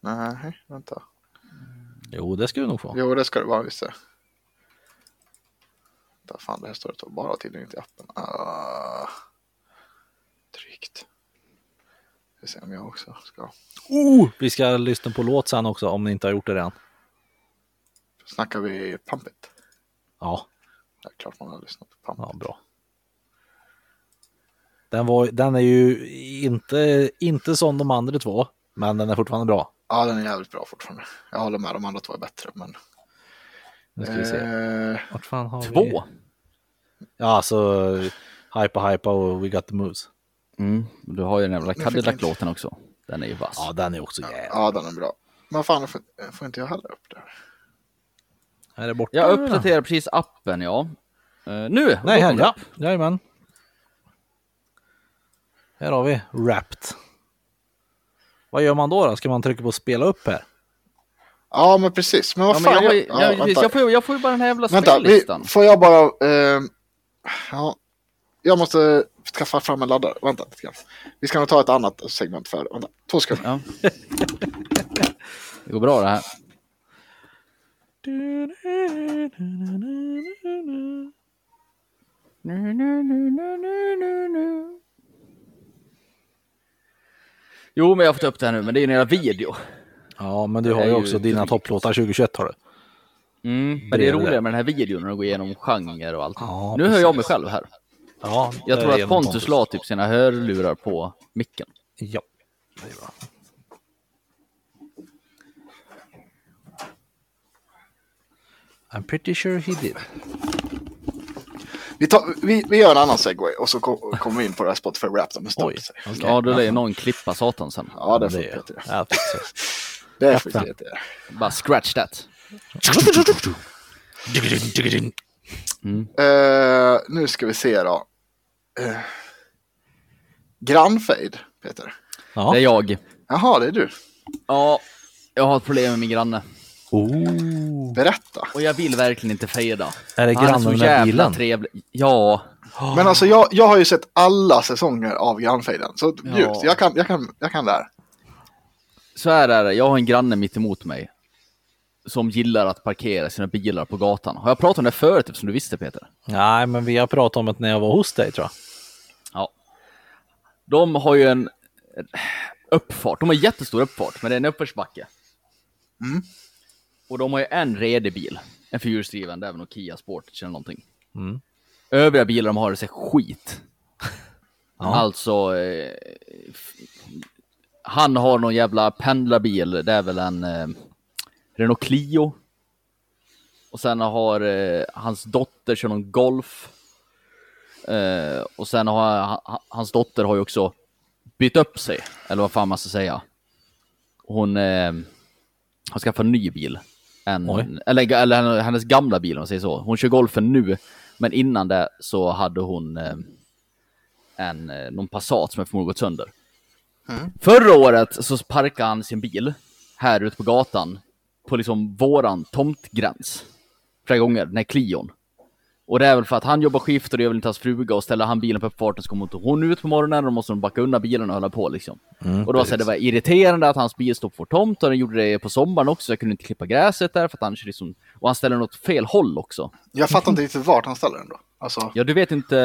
Nej, vänta.
Jo, det ska du nog få.
Jo, det ska det vara, visst är det. Där fan, det här står det bara tillgängligt i appen. Ah, drygt. Vi ser om jag också ska
Oh, vi ska lyssna på låt sen också om ni inte har gjort det än.
Snackar vi Pump It?
Ja,
Det är klart man har lyssnat på Pump
ja
It.
bra. Den, var, den är ju inte, inte som de andra två, men den är fortfarande bra.
Ja, den är jävligt bra fortfarande. Jag håller med, de andra två är bättre. Men...
Nu ska vi se.
Eh,
Vart fan har vi?
Två!
Ja, alltså Hypa Hypa och We Got The Moves.
Mm. Du har ju den jävla
fick jag
Cadillac-låten också. Den är ju vass.
Ja, den är också jävla...
ja, den är bra. Men fan, får, får inte jag heller upp det här?
Är det borta?
Jag uppdaterar precis appen, ja. Eh, nu!
Nej,
Då
här,
kom
ja. Jajamän. Här har vi Wrapped. Vad gör man då? då? Ska man trycka på spela upp här?
Ja, men precis. Men vad
Ja, men
fan,
jag, har ju-
jag- ja,
jag,
vänta.
precis, jag, får, ju- jag får ju bara den här jävla
Vänta, vi,
spellistan.
får jag bara... Eh, ja, jag måste skaffa fram en laddare. Vänta lite grann. Vi ska nog ta ett annat segment för Vänta, två sekunder.
Ja. Det går bra det här. Jo, men jag har fått upp det här nu, men det är ju en jävla video.
Ja, men du har
är
ju
ju
också dina
drygt.
topplåtar 2021 har du.
Men det är
Bredvid Mm. det.
roligare med den här videon när de går igenom genre och allt.
Ja,
nu hör
precis.
jag mig själv här.
Ja,
Jag tror
eh,
att
genom
Pontus la typ sina hörlurar på micken.
Ja, det är bra. I'm pretty sure he did.
Vi, tar, vi, vi gör en annan segway och så ko- kommer vi in på det här Spotify Wrapped om en stund.
Oj, okej.
Ja, då lär ju någon klippa satan sen.
Ja, det får
Det är
Peter göra.
ja, precis.
Det får Peter göra.
Bara scratch that.
Eh, nu ska vi se då. Uh, Grannfade, Peter.
Det är
Ja.
jag.
Jaha, det är du.
Ja, jag har ett problem med min granne.
Oh.
Berätta.
Och jag vill verkligen inte fejda.
Är det grannen
Han är
med
så jävla
bilen?
trevlig. Ja.
Men alltså jag, jag har ju sett alla säsonger av Grannfaden. Så
Ja.
djupt, jag kan, jag kan, jag kan det här.
Så här är det, jag har en granne mitt emot mig som gillar att parkera sina bilar på gatan. Har jag pratat om det förut eftersom du visste Peter?
Nej, men vi har pratat om det när jag var hos dig tror jag.
Ja. De har ju en uppfart. De har jättestor uppfart, men det är en uppförsbacke.
Mm.
Och de har ju en redig bil. En fyrhjulsdriven, det är väl någon Kia Sport eller någonting.
Mm.
Övriga bilar de har är så skit. Alltså, eh, f- han har någon jävla pendlarbil, det är väl en eh, Renault Clio. Och sen har eh, hans dotter kör någon Golf. Eh, och sen har ha- ha- hans dotter har ju också bytt upp sig, eller vad fan man ska säga. Hon eh, har skaffat en ny bil. En,
Oj.
eller, eller henne- hennes gamla bil om man säger så. Hon kör golfen nu, men innan det så hade hon eh, en, eh, någon Passat som jag förmodligen gått sönder. Förra året så parkade han sin bil här ute på gatan på liksom våran tomtgräns. Flera gånger, den här Clion. Och det är väl för att han jobbar skift och det är väl inte hans fruga och ställer han bilen på uppfarten så kommer inte hon ut på morgonen och då måste hon backa undan bilen och hålla på liksom. och det var, så här, det var irriterande att hans bil stod på vår tomt och den gjorde det på sommaren också. Jag kunde inte klippa gräset där för att han kör liksom... Och han ställer den åt fel håll också.
Jag fattar inte riktigt vart han ställer den då. Alltså,
Ja, du vet inte,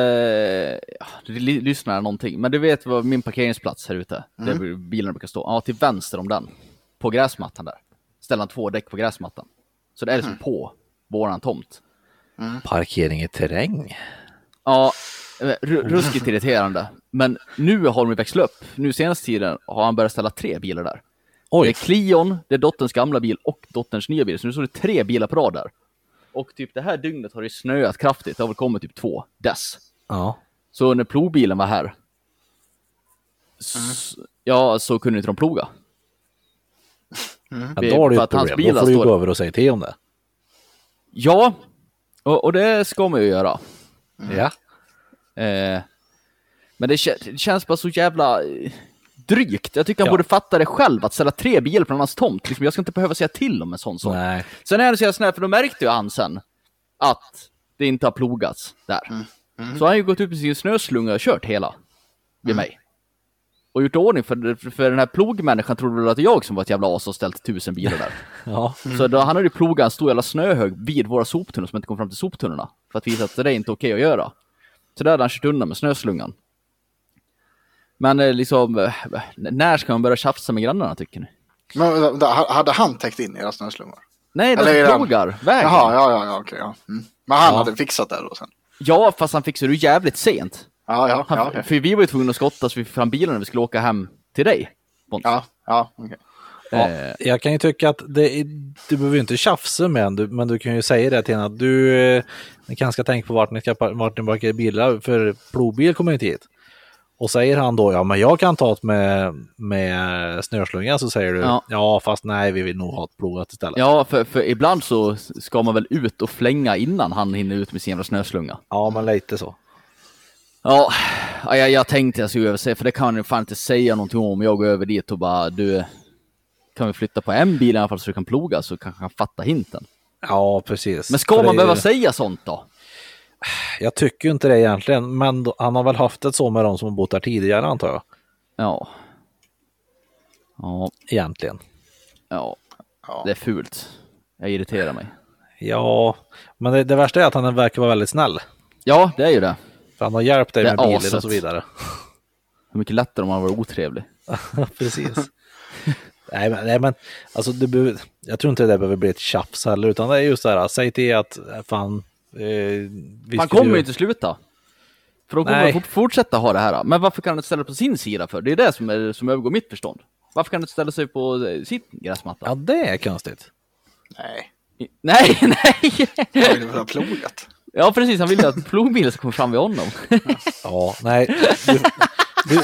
ja, du ly- lyssnar någonting, men du vet vad min parkeringsplats här ute, där bilarna brukar stå. Ja, till vänster om den, på gräsmattan där, ställer han två däck på gräsmattan. Så det är liksom på våran tomt.
Parkering i terräng.
Ja, eh, ru- ruskigt irriterande. Men nu har de ju växlat upp. Nu senaste tiden har han börjat ställa tre bilar där. Det är
Oj,
Clion, det är dotterns gamla bil och dotterns nya bil. Så nu står det tre bilar på rad där. Och typ det här dygnet har det snöat kraftigt. Det har väl kommit typ två dess.
ja.
Så när plogbilen var här, s- ja, så kunde inte de ploga.
Ja, då har du
För
ju
att
ett
hans
problem.
bilar
Då får du ju
står-
gå över och säga till om det.
Ja, och, och det ska man ju göra.
Ja.
Eh, men det, kä- det känns bara så jävla eh, drygt. Jag tycker han
Ja.
borde fatta det själv, att ställa tre bilar på någon annans tomt. Liksom, jag ska inte behöva säga till om en sån sak.
Nej.
Sen är han så jävla snäll, för då märkte ju han sen att det inte har plogats där. Så han har ju gått ut med sin snöslunga och kört hela vid mig. Och gjort ordning, för, för den här plogmänniskan trodde väl att det var jag som var ett jävla as och ställt tusen bilar där.
Ja.
Så
Mm.
då, han hade ju plogat en stor jävla snöhög vid våra soptunnor som inte kom fram till soptunnorna. För att visa att det där är inte okej att göra. Så där hade han kört undan med snöslungan. Men eh, liksom, eh, när ska man börja tjafsa med grannarna tycker ni?
men vänta, hade han täckt in era snöslungor?
Nej, de
Eller är det-
plogar vägen.
Jaha, ja, ja, ja, okej. Ja. Mm. Men han hade fixat det då sen?
Ja, fast han fixade det ju jävligt sent.
Ja, ja,
Han,
ja, okej.
För vi var ju tvungna att skotta så vi fick fram bilen när vi skulle åka hem till dig. Pontus. Eh,
ja, ja, okej.
Ja, jag kan ju tycka att det, är- du behöver ju inte tjafsa med en, du- men du kan ju säga det till henne att du eh, ni kanske ska tänka på vart ni, ska, par- vart ni parkerar bilar, för plogbil kommer ju inte hit. Och säger han då, ja men jag kan ta det med, med snöslungan, så säger du,
Ja.
ja. fast nej vi vill nog ha ett plogat istället. Ja.
Ja, för, för ibland så ska man väl ut och flänga innan han hinner ut med sin jävla snöslunga.
men lite så.
Ja, ja, jag, jag tänkte jag skulle över säga, för det kan han ju fan inte säga någonting om. Jag går över dit och bara, du, kan vi flytta på en bil i alla fall så du kan ploga så kanske han fattar hinten.
Ja, precis.
Men ska
För det
man
är
behöva
ju-
säga sånt då?
Jag tycker ju inte det egentligen, men då, han har väl haft det så med de som har bott där tidigare antar jag.
Ja. Ja,
Egentligen.
ja,
Ja.
det är fult. Jag irriterar mig.
Ja, men det, det värsta är att han verkar vara väldigt snäll.
Ja, det är ju det.
För han har hjälpt dig
Det är
med bilen
aset.
och så vidare.
Hur mycket lättare om man var otrevlig.
Precis. nej, men, nej, men alltså, det behöver, jag tror inte det där behöver bli ett tjafs heller, utan det är just det här, säg till att eh, fan... Eh, vi skulle
Han kommer ju
ju-
inte sluta. För då kommer
Nej.
han fort- fortsätta ha det här. Men varför kan han inte ställa sig på sin sida för? Det är det som, är, som övergår mitt förstånd. Varför kan han inte ställa sig på eh, sitt gräsmatta?
Ja, det är konstigt.
Nej,
Nej, nej!
jag vill väl ha plogat.
Ja, precis. Han vill ju att plogbilen ska komma fram vid honom.
Ja, nej. Du, du,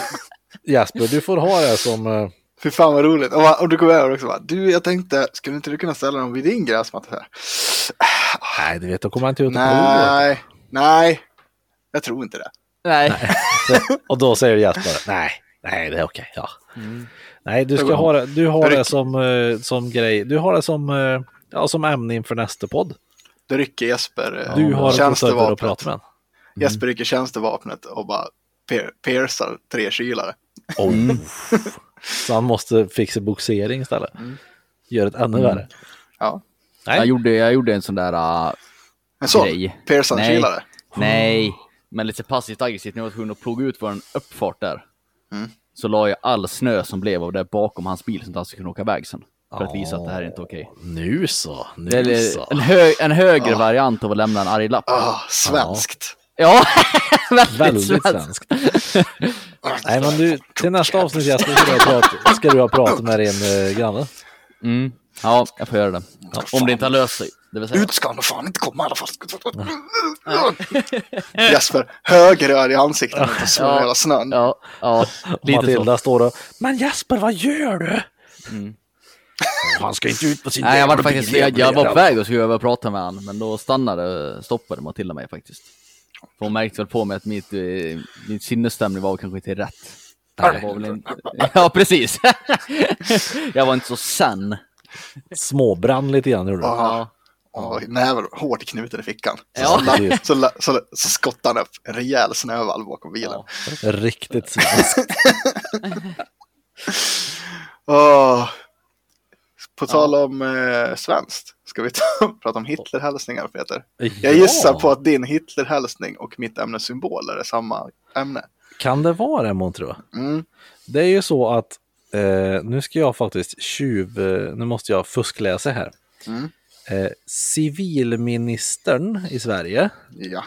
Jasper, du får ha det som... eh,
Fy fan vad roligt. Och, va- och du går över också va? Du, jag tänkte, skulle inte du kunna ställa dem vid din gräsmatta här?
Nej, du vet, då kommer han inte ut och provar.
Nej, nej, jag tror inte det.
Nej.
Och då säger Jasper, nej, nej, det är okej. Ja. Nej, du
Det
ska
går.
ha det, du har
Ryck.
det som, eh, som grej. Du har det som, eh, ja, som ämne inför nästa podd.
Då rycker Jesper eh,
Du har gått över och
tjänstevapnet.
pratat med en.
Jesper rycker tjänstevapnet och bara pier- piercar tre kylare.
Oh. Så han måste fixa boxering istället. Gör det ännu värre.
Ja.
Jag,
Nej,
gjorde, jag gjorde en sån där... ah,
En sån
Grej.
piercar
nej,
kylare.
nej. Men lite passivt aggressivt. Nu var jag tvungen att ploga ut vår uppfart där.
Mm.
Så la jag all snö som blev av det bakom hans bil så att han skulle kunna åka iväg sen. För att visa att det här är inte okej.
Nu så, nu så.
Eller en, hög, en högre variant av att lämna en arg lapp.
Ah, svenskt.
Ja, väldigt,
Väldigt
svenskt.
svenskt. Nej, men du, till nästa avsnitt Jesper, ska du ha prat, ska du ha prat med din eh, granne.
Mm. Ja, jag får göra det. Ja, om det inte har löst sig. Det vill säga.
Ut ska han nog fan inte komma i alla fall. Jesper, högerröd i ansiktet när han
Ja.
tar hela snön.
Ja, ja lite
Matilda
så.
står och, men Jesper, vad gör du? Han ska inte ut på sin
Mm. Nej, jag var
jävla
faktiskt,
bil
jag, jag var på
igen.
väg och skulle över och prata med han, men då stannade, stoppade Matilda mig faktiskt. För hon märkte väl på mig att mitt, eh, mitt sinnesstämning var kanske inte rätt. Jag var väl inte... Ja, precis. jag var inte så sen.
Småbrann lite grann gjorde du.
Ja. Ah. Och näven hårt knuten i fickan. Så,
Ja.
så, så, så, så skottade han upp en rejäl snövalv bakom bilen.
Ja.
Riktigt svenskt.
Åh. Ah. På tal om eh, svenskt, ska vi ta, prata om Hitlerhälsningar Peter? Jag gissar på att din Hitlerhälsning och mitt ämne symboler är samma ämne.
Kan det vara det månntro?
Mm.
Det är ju så att eh, nu ska jag faktiskt tjuv... eh, Nu måste jag fuskläsa här.
Mm.
Eh, civilministern i Sverige,
Ja,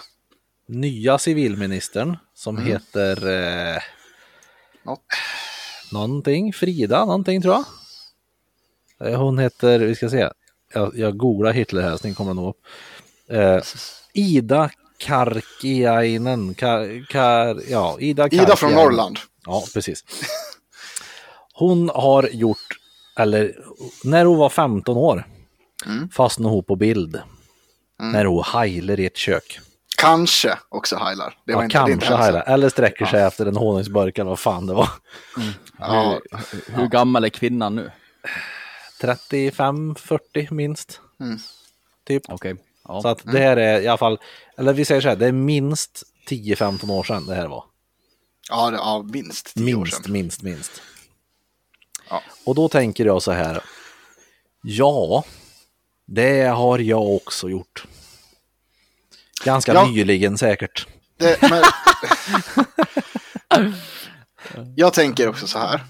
nya civilministern som
Mm.
heter eh,
något.
någonting, Frida någonting tror jag. Eh, Hon heter, vi ska se, jag, jag googlar Hitlerhälsning kommer nog upp. Eh, Ida Karkiainen, Kar, Kar, ja, Ida
Ida från
Karkiainen.
Norrland.
Ja, precis. Hon har gjort, eller när hon var 15 år,
Mm.
fastnade hon på bild. När hon heiler i ett kök.
Kanske också heilar. Det var
Ja,
inte, det är inte
kanske
hälsa.
heilar, eller sträcker sig efter en honungsburk eller vad fan det var.
Ja,
Hur gammal är kvinnan nu?
35, 40 minst.
Mm.
Typ.
Okej. Ja. Mm.
Så att det här är i alla fall, eller vi säger så här, det är minst 10-15 år sedan det här var.
ja, det, ja minst tio år
Minst,
sedan.
minst, minst.
Ja.
Och då tänker jag så här. Ja, det har jag också gjort. Ganska
Ja.
nyligen säkert.
Det, men... jag tänker också så här.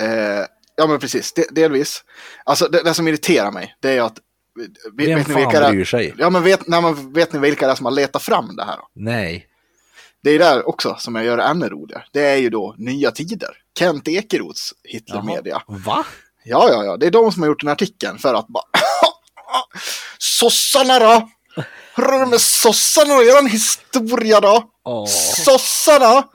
Eh, ja, men precis. De, delvis. Alltså, det, det som irriterar mig, det är att... Vet,
Vem
vet ni
fan
vilka
bryr
det,
sig?
ja, men vet, nej, men vet ni vilka det är som har letat fram det här? då?
Nej.
Det är där också som jag gör det ännu roligare. Det är ju då Nya Tider. Kent Ekeroths Hitlermedia.
Va?
Ja, ja, ja. Det är de som har gjort den här artikeln för att bara... sossarna då! Hur är det med sossarna och eran historia då? Sossarna!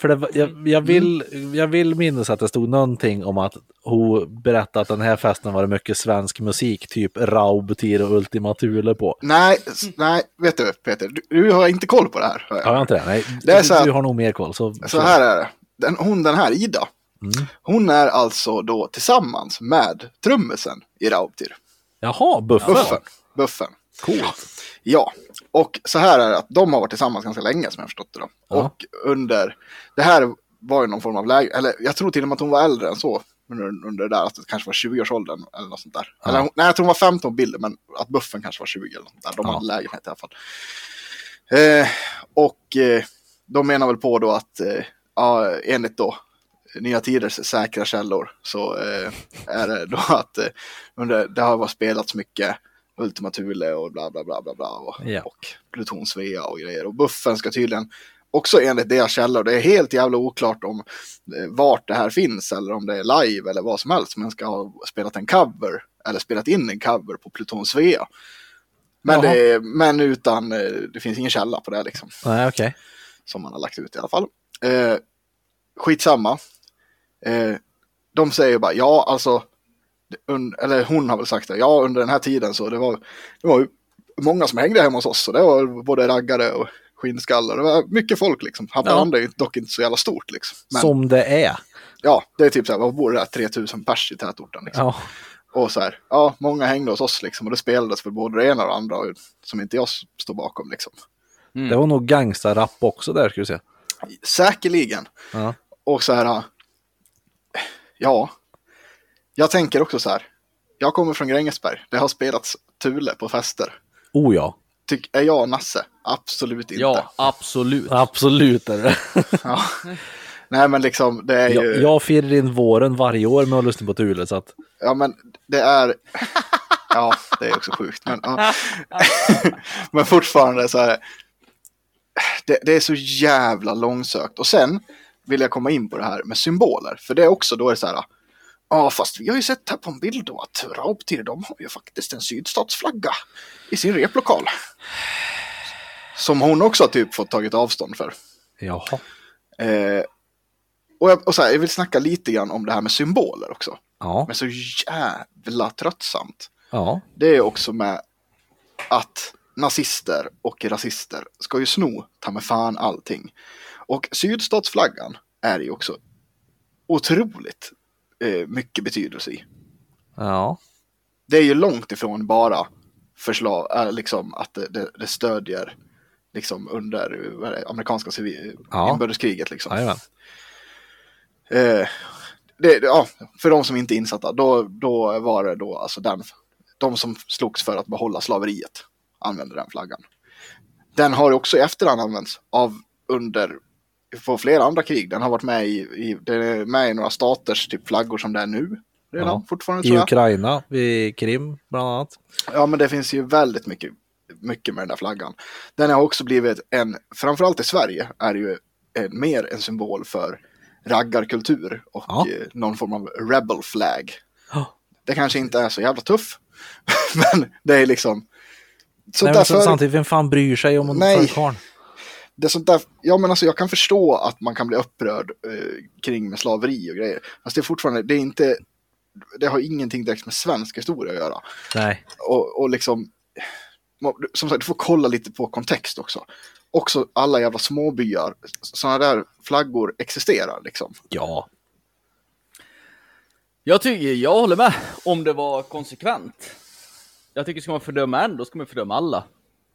För det, var- jag, jag, vill, jag vill minnas att det stod någonting om att hon berättade att den här festen var det mycket svensk musik, typ Raub, Tir och Ultima Thule på.
Nej, s- nej, vet du Peter, du, du har inte koll på det här. hör jag.
Har jag inte det? Nej,
Det är
du,
så här-
du har nog mer koll. Så,
Så här är det. Den, hon, den här Ida, hon är alltså då tillsammans med trummisen i Raubtir.
Jaha, buffen.
Buffen. Buffen.
Coolt.
Ja, och så här är det att de har varit tillsammans ganska länge som jag har förstått det då.
Ja.
Och under, det här var ju någon form av läge, eller jag tror till och med att hon var äldre än så. Under, under det där att det kanske var 20-årsåldern eller något sånt där. Eller, hon- nej, jag tror hon var 15 på bilden, men att buffen kanske var 20 eller något sånt där. De
Ja.
hade lägenhet i alla fall. Eh, och eh, de menar väl på då att, eh, ja, enligt då Nya Tiders säkra källor så eh, är det då att eh, under, det har varit spelats mycket Ultima Thule och bla bla bla bla bla och,
Ja.
och Pluton Svea och grejer. Och buffen ska tydligen också enligt deras källor, det är helt jävla oklart om eh, vart det här finns eller om det är live eller vad som helst, men ska ha spelat en cover eller spelat in en cover på Pluton Svea. Men,
Jaha.
det, men utan, eh, det finns ingen källa på det liksom
Nej, okej.
som man har lagt ut i alla fall. Eh, skitsamma. Eh, de säger ju bara, ja alltså, un, eller hon har väl sagt det, ja under den här tiden så det var, det var ju många som hängde hemma hos oss, så det var både raggare och skinnskallar, det var mycket folk liksom. Haparanda är ju dock inte så jävla stort liksom. Men
Som det är.
ja, det är typ så här, vad bor det där, 3000 pers i tätorten liksom.
Ja.
Och så här, ja, många hängde hos oss liksom och det spelades väl både det ena och det andra och- som inte jag s- står bakom liksom.
Det var nog gangsta-rap också där ska du se.
Säkerligen.
Ja.
Och så här, äh, ja, jag tänker också så här. Jag kommer från Grängesberg, det har spelats Thule på fester.
Oh ja,
Tyck, är jag Nasse? Absolut inte.
ja, absolut.
absolut är det.
Ja. Nej men liksom det är
Jag,
ju,
jag firar in våren varje år med att lyssna på Thule, så att
ja men det är, ja det är också sjukt. Men, ja. men fortfarande så här, det, det är så jävla långsökt. Och sen vill jag komma in på det här med symboler, för det är också då är det så här, ja fast vi har ju sett här på en bild då att Raubtir de har ju faktiskt en sydstatsflagga i sin replokal. Som hon också typ fått tagit avstånd för.
jaha.
Eh, och jag, och så här, jag vill snacka lite grann om det här med symboler också.
Ja,
Men så jävla tröttsamt.
ja,
Det är också med att nazister och rasister ska ju sno ta med fan allting. Och sydstatsflaggan är ju också otroligt eh, mycket betydelse i.
ja,
Det är ju långt ifrån bara förslag, äh, liksom att det, det, det stödjer liksom under eh, vad är det, amerikanska civil,
Ja.
inbördeskriget liksom.
jajamän.
Eh, det, ja, för de som inte är insatta, då, då var det då alltså den, de som slogs för att behålla slaveriet använde den flaggan. Den har också i efterhand använts av under på flera andra krig. Den har varit med i, i, den är med i några staters typ flaggor som det är nu. Redan
Ja.
fortfarande
I
tror jag.
Ukraina, vid Krim bland annat.
Ja, men det finns ju väldigt mycket, mycket med den där flaggan. Den har också blivit en, framförallt i Sverige, är ju en, mer en symbol för raggarkultur och
Ja.
eh, någon form av rebel flag.
Ja.
Det kanske inte är så jävla tuff, men det är liksom... Så
Nej, men
därför,
så- samtidigt, vem fan bryr sig om en
Nej.
förkarn?
det är sånt där, ja men alltså jag kan förstå att man kan bli upprörd eh, kring med slaveri och grejer. Fast det är fortfarande, det är inte, det har ingenting direkt med svensk historia att göra.
Nej,
och, och liksom, som sagt, du får kolla lite på kontext också. Också alla jävla småbyar, sådana där flaggor existerar liksom.
ja,
Jag tycker, jag håller med. Om det var konsekvent. Jag tycker ska man fördöma en, då ska man fördöma alla.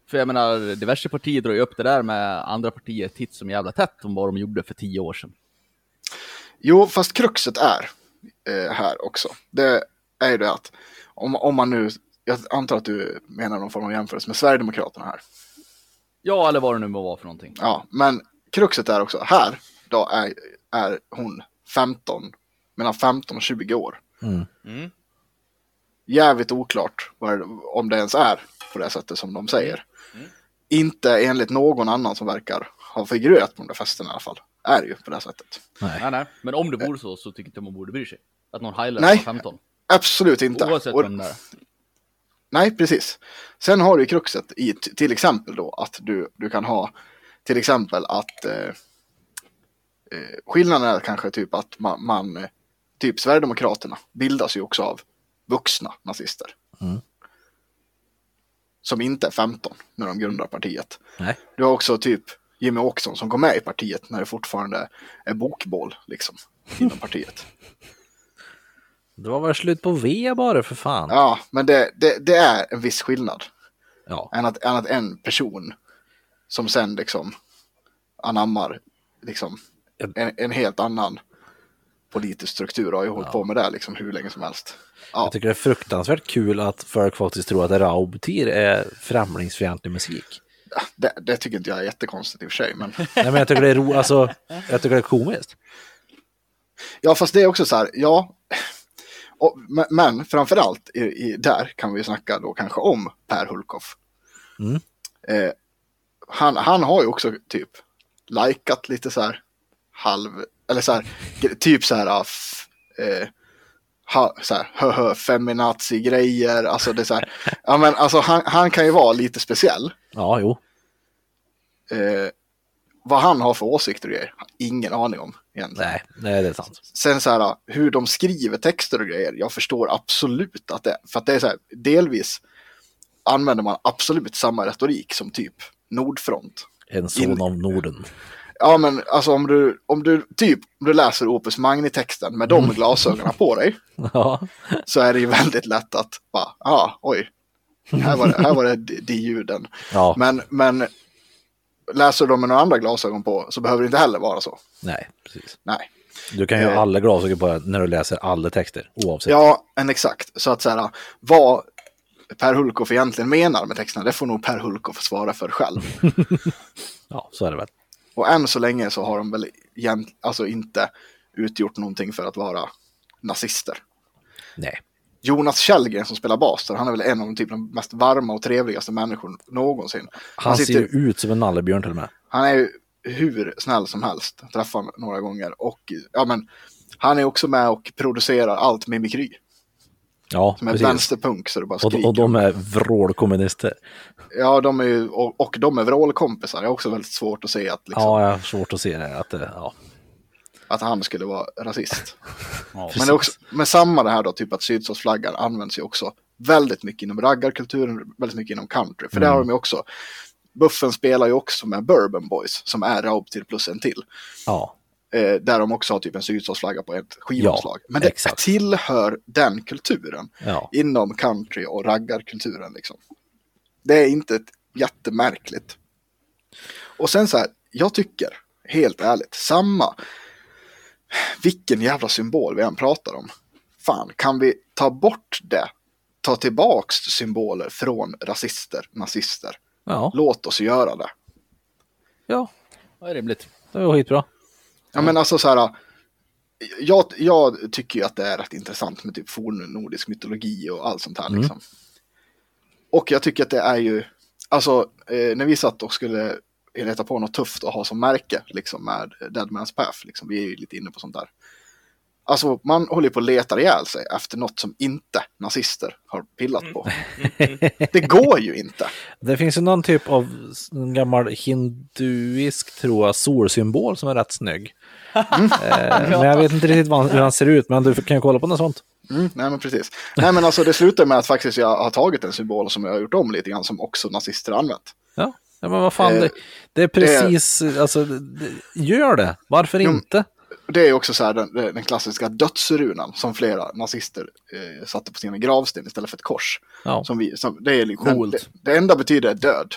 För jag menar, diverse partier drar ju upp det där med andra partier titt som jävla tätt om vad de gjorde för tio år sedan.
Jo, fast kruxet är eh, här också. Det är ju det att om, om man nu, jag antar att du menar någon form av jämförelse med Sverigedemokraterna här.
Ja, eller vad det nu må vara för någonting.
Ja, men kruxet är också, här då är, är hon 15, mellan 15 och 20 år.
Mm.
Jävligt oklart vad, det- om det ens är på det sättet som de säger.
Mm.
Inte enligt någon annan som verkar ha figurerat på de där festerna i alla fall. Är det ju på det här sättet.
nej.
Nej, nej. Men om det vore så, så tycker inte man borde bry sig. Att någon highlightar
Nej.
15.
Absolut inte.
Oavsett
Och-
vem det är.
Nej, precis. Sen har du ju kruxet i t- till exempel då att du, du kan ha till exempel att eh, eh, skillnaden är kanske typ att man, man eh, typ Sverigedemokraterna bildas ju också av vuxna nazister. Som inte är 15 när de grundar partiet.
nej.
Du har också typ Jimmy Åkesson som går med i partiet när det fortfarande är bokbål liksom inom partiet.
Det var väl slut på V bara för fan.
Ja, men det, det, det är en viss skillnad.
Ja,
än att, än att en person som sen liksom anammar liksom en, en helt annan politisk struktur har ju hållit på med det liksom hur länge som helst. Ja,
jag tycker det är fruktansvärt kul att folk faktiskt tror att Raubtir är främlingsfientlig musik.
det, det tycker inte jag är jättekonstigt i och för sig. Men...
Nej, men jag tycker det är ro, alltså, jag tycker det är komiskt.
Ja, fast det är också så här, ja. Och, men, men framförallt i, i, där kan vi snacka då kanske om Per Hulkoff.
Mm.
Eh, han, han har ju också typ likat lite så här halv, eller så här, gre- typ så här, ah, f, eh, ha, så här höhö, feminazi-grejer, alltså det är så här, ja men alltså han, han kan ju vara lite speciell.
Ja, jo.
Eh, vad han har för åsikter och grejer, ingen aning om egentligen.
Nej, nej, det är sant.
Sen så här, hur de skriver texter och grejer, jag förstår absolut att det För att det är så här, delvis använder man absolut samma retorik som typ Nordfront.
En son
In-
av Norden.
Ja men alltså om du, om du typ, om du läser Opus Magni-texten med de glasögonen på dig,
Ja,
så är det ju väldigt lätt att bara, ja, oj, här var det, här var det de, de ljuden.
ja
Men, men läser du dem med några andra glasögon på så behöver det inte heller vara så.
nej, precis.
Nej.
Du kan ju ha
Eh.
alla glasögon på dig när du läser alla texter, oavsett.
Ja, en exakt. Så att så här, vad Per Hulkoff egentligen menar med texterna, det får nog Per Hulkoff svara för själv.
Ja, så är det väl.
Och än så länge så har de väl jäm, alltså inte utgjort någonting för att vara nazister.
Nej.
Jonas Källgren som spelar bas där, han är väl en av de, typ, de mest varma och trevligaste människor någonsin.
Han ser ju ut som en nallebjörn till och med.
Han är ju hur snäll som helst, träffar honom några gånger. Och ja, men, han är också med och producerar allt mimikry.
Ja,
Som är
precis.
vänsterpunk så det bara
Och,
skriker.
och de är vrålkommunister.
Ja, de är ju, och, och de är vrålkompisar. Det är också väldigt svårt att se att, liksom,
Ja, jag har svårt att se det. Att, det- ja.
att han skulle vara rasist.
Ja.
Men, det är också, men samma det här då, typ att sydstatsflaggan används ju också väldigt mycket inom raggarkulturen, väldigt mycket inom country. För
Mm.
det har de ju också. Buffen spelar ju också med Bourbon Boys, som är Raubtill plus en till.
ja.
Eh, där de också har typ en sydstatsflagga på ett skivomslag. men det
exakt.
tillhör den kulturen
Ja.
inom country och raggarkulturen. Liksom. Det är inte ett jättemärkligt. Och sen så här, jag tycker, helt ärligt, samma, vilken jävla symbol vi än pratar om. Fan, kan vi ta bort det? Ta tillbaks symboler från rasister, nazister.
Ja.
Låt oss göra det.
ja,
Det är rimligt.
det var skitbra.
Ja men alltså så här. Jag, jag tycker ju att det är rätt intressant med typ fornnordisk mytologi och allt sånt här liksom. Och jag tycker att det är ju, alltså eh, när vi satt och skulle leta på något tufft att ha som märke liksom med Deadman's Path, liksom, vi är ju lite inne på sånt där. Alltså man håller ju på och letar ihjäl sig efter något som inte nazister har pillat på. Det går ju inte.
Det finns ju någon typ av s- en gammal hinduisk, tror jag, solsymbol som är rätt snygg. eh, men jag vet inte riktigt vad han, hur han ser ut, men du kan ju kolla på något sånt.
Mm, nej men precis. Nej men alltså det slutar med att faktiskt jag har tagit en symbol som jag har gjort om lite grann som också nazister har använt.
Ja, ja men vad fan,
Eh,
det, det är precis, alltså, det, det, gör det. Varför inte?
Det är ju också så här den, den klassiska dödsrunan som flera nazister eh, satte på sina gravsten istället för ett kors.
Ja.
Som vi, som, det, är liksom,
Coolt.
det, det enda betyder är död,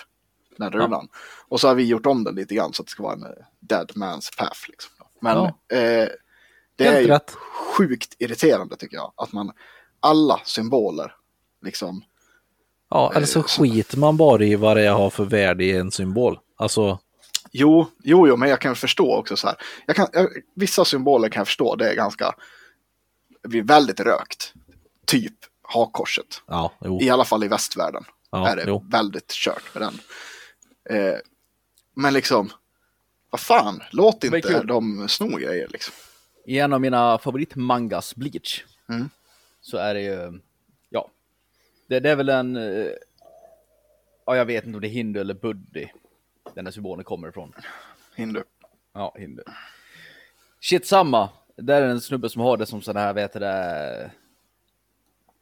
den runan. Och så har vi gjort om den lite grann så att det ska vara en eh, dead man's path. Liksom. Men
Ja.
eh, det
Helt
är ju
rätt.
sjukt irriterande tycker jag att man alla symboler liksom
Ja, eller så skiter man bara i vad det har för värde i en symbol. Alltså,
Jo, jo, jo, men jag kan förstå också så här. Jag kan, jag, vissa symboler kan jag förstå, det är ganska, det blir väldigt rökt. Typ hakkorset.
ja, jo.
I alla fall i västvärlden
Ja,
är det
jo.
väldigt kört med den. Eh, men liksom, vad fan, låt
är
inte
kul.
dem sno grejer liksom.
I en av mina favoritmangas, Bleach,
Mm.
så är det ju, ja, det, det är väl en, eh, ja jag vet inte om det är hindu eller buddi, den där symbolen kommer ifrån.
Hindu.
Ja, hindu. Shit samma, där är en snubbe som har det som sån här, vet du det,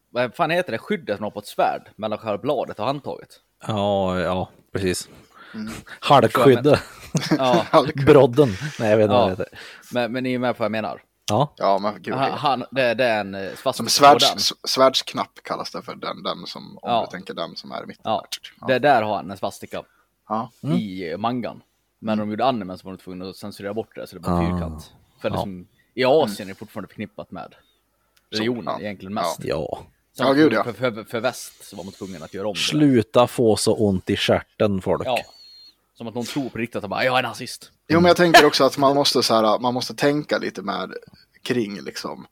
vad fan heter det, skyddet som har på ett svärd mellan själva bladet och handtaget.
Ja, ja, precis.
Mm.
Halkskydde,
Ja,
brodden. Nej, jag vet inte vad det
ja.
heter.
Men, men ni är med på vad jag menar.
Ja,
Ja, men gud.
Han,
det-
han, det, det är en eh, svart
Som
på
svärds,
den.
s- svärdsknapp kallas det för den, den som, om
Ja.
du tänker den som är mitt.
Ja,
Ja.
det där har han en svastika
Ja.
i mangan. Men när de gjorde animen så var de tvungna att censurera bort det så det blev
Ah.
fyrkant. För det
Ja.
som i Asien är fortfarande förknippat med religionen
ja.
egentligen mest.
ja.
Sen
Ja, gud, ja.
För, för, för väst så var man tvungen att göra om det.
Sluta få så ont i stjärten, folk.
Ja. Som att någon tror på riktigt att bara, jag är nazist.
Jo, men jag tänker också att man måste, så här, man måste tänka lite med kring, liksom,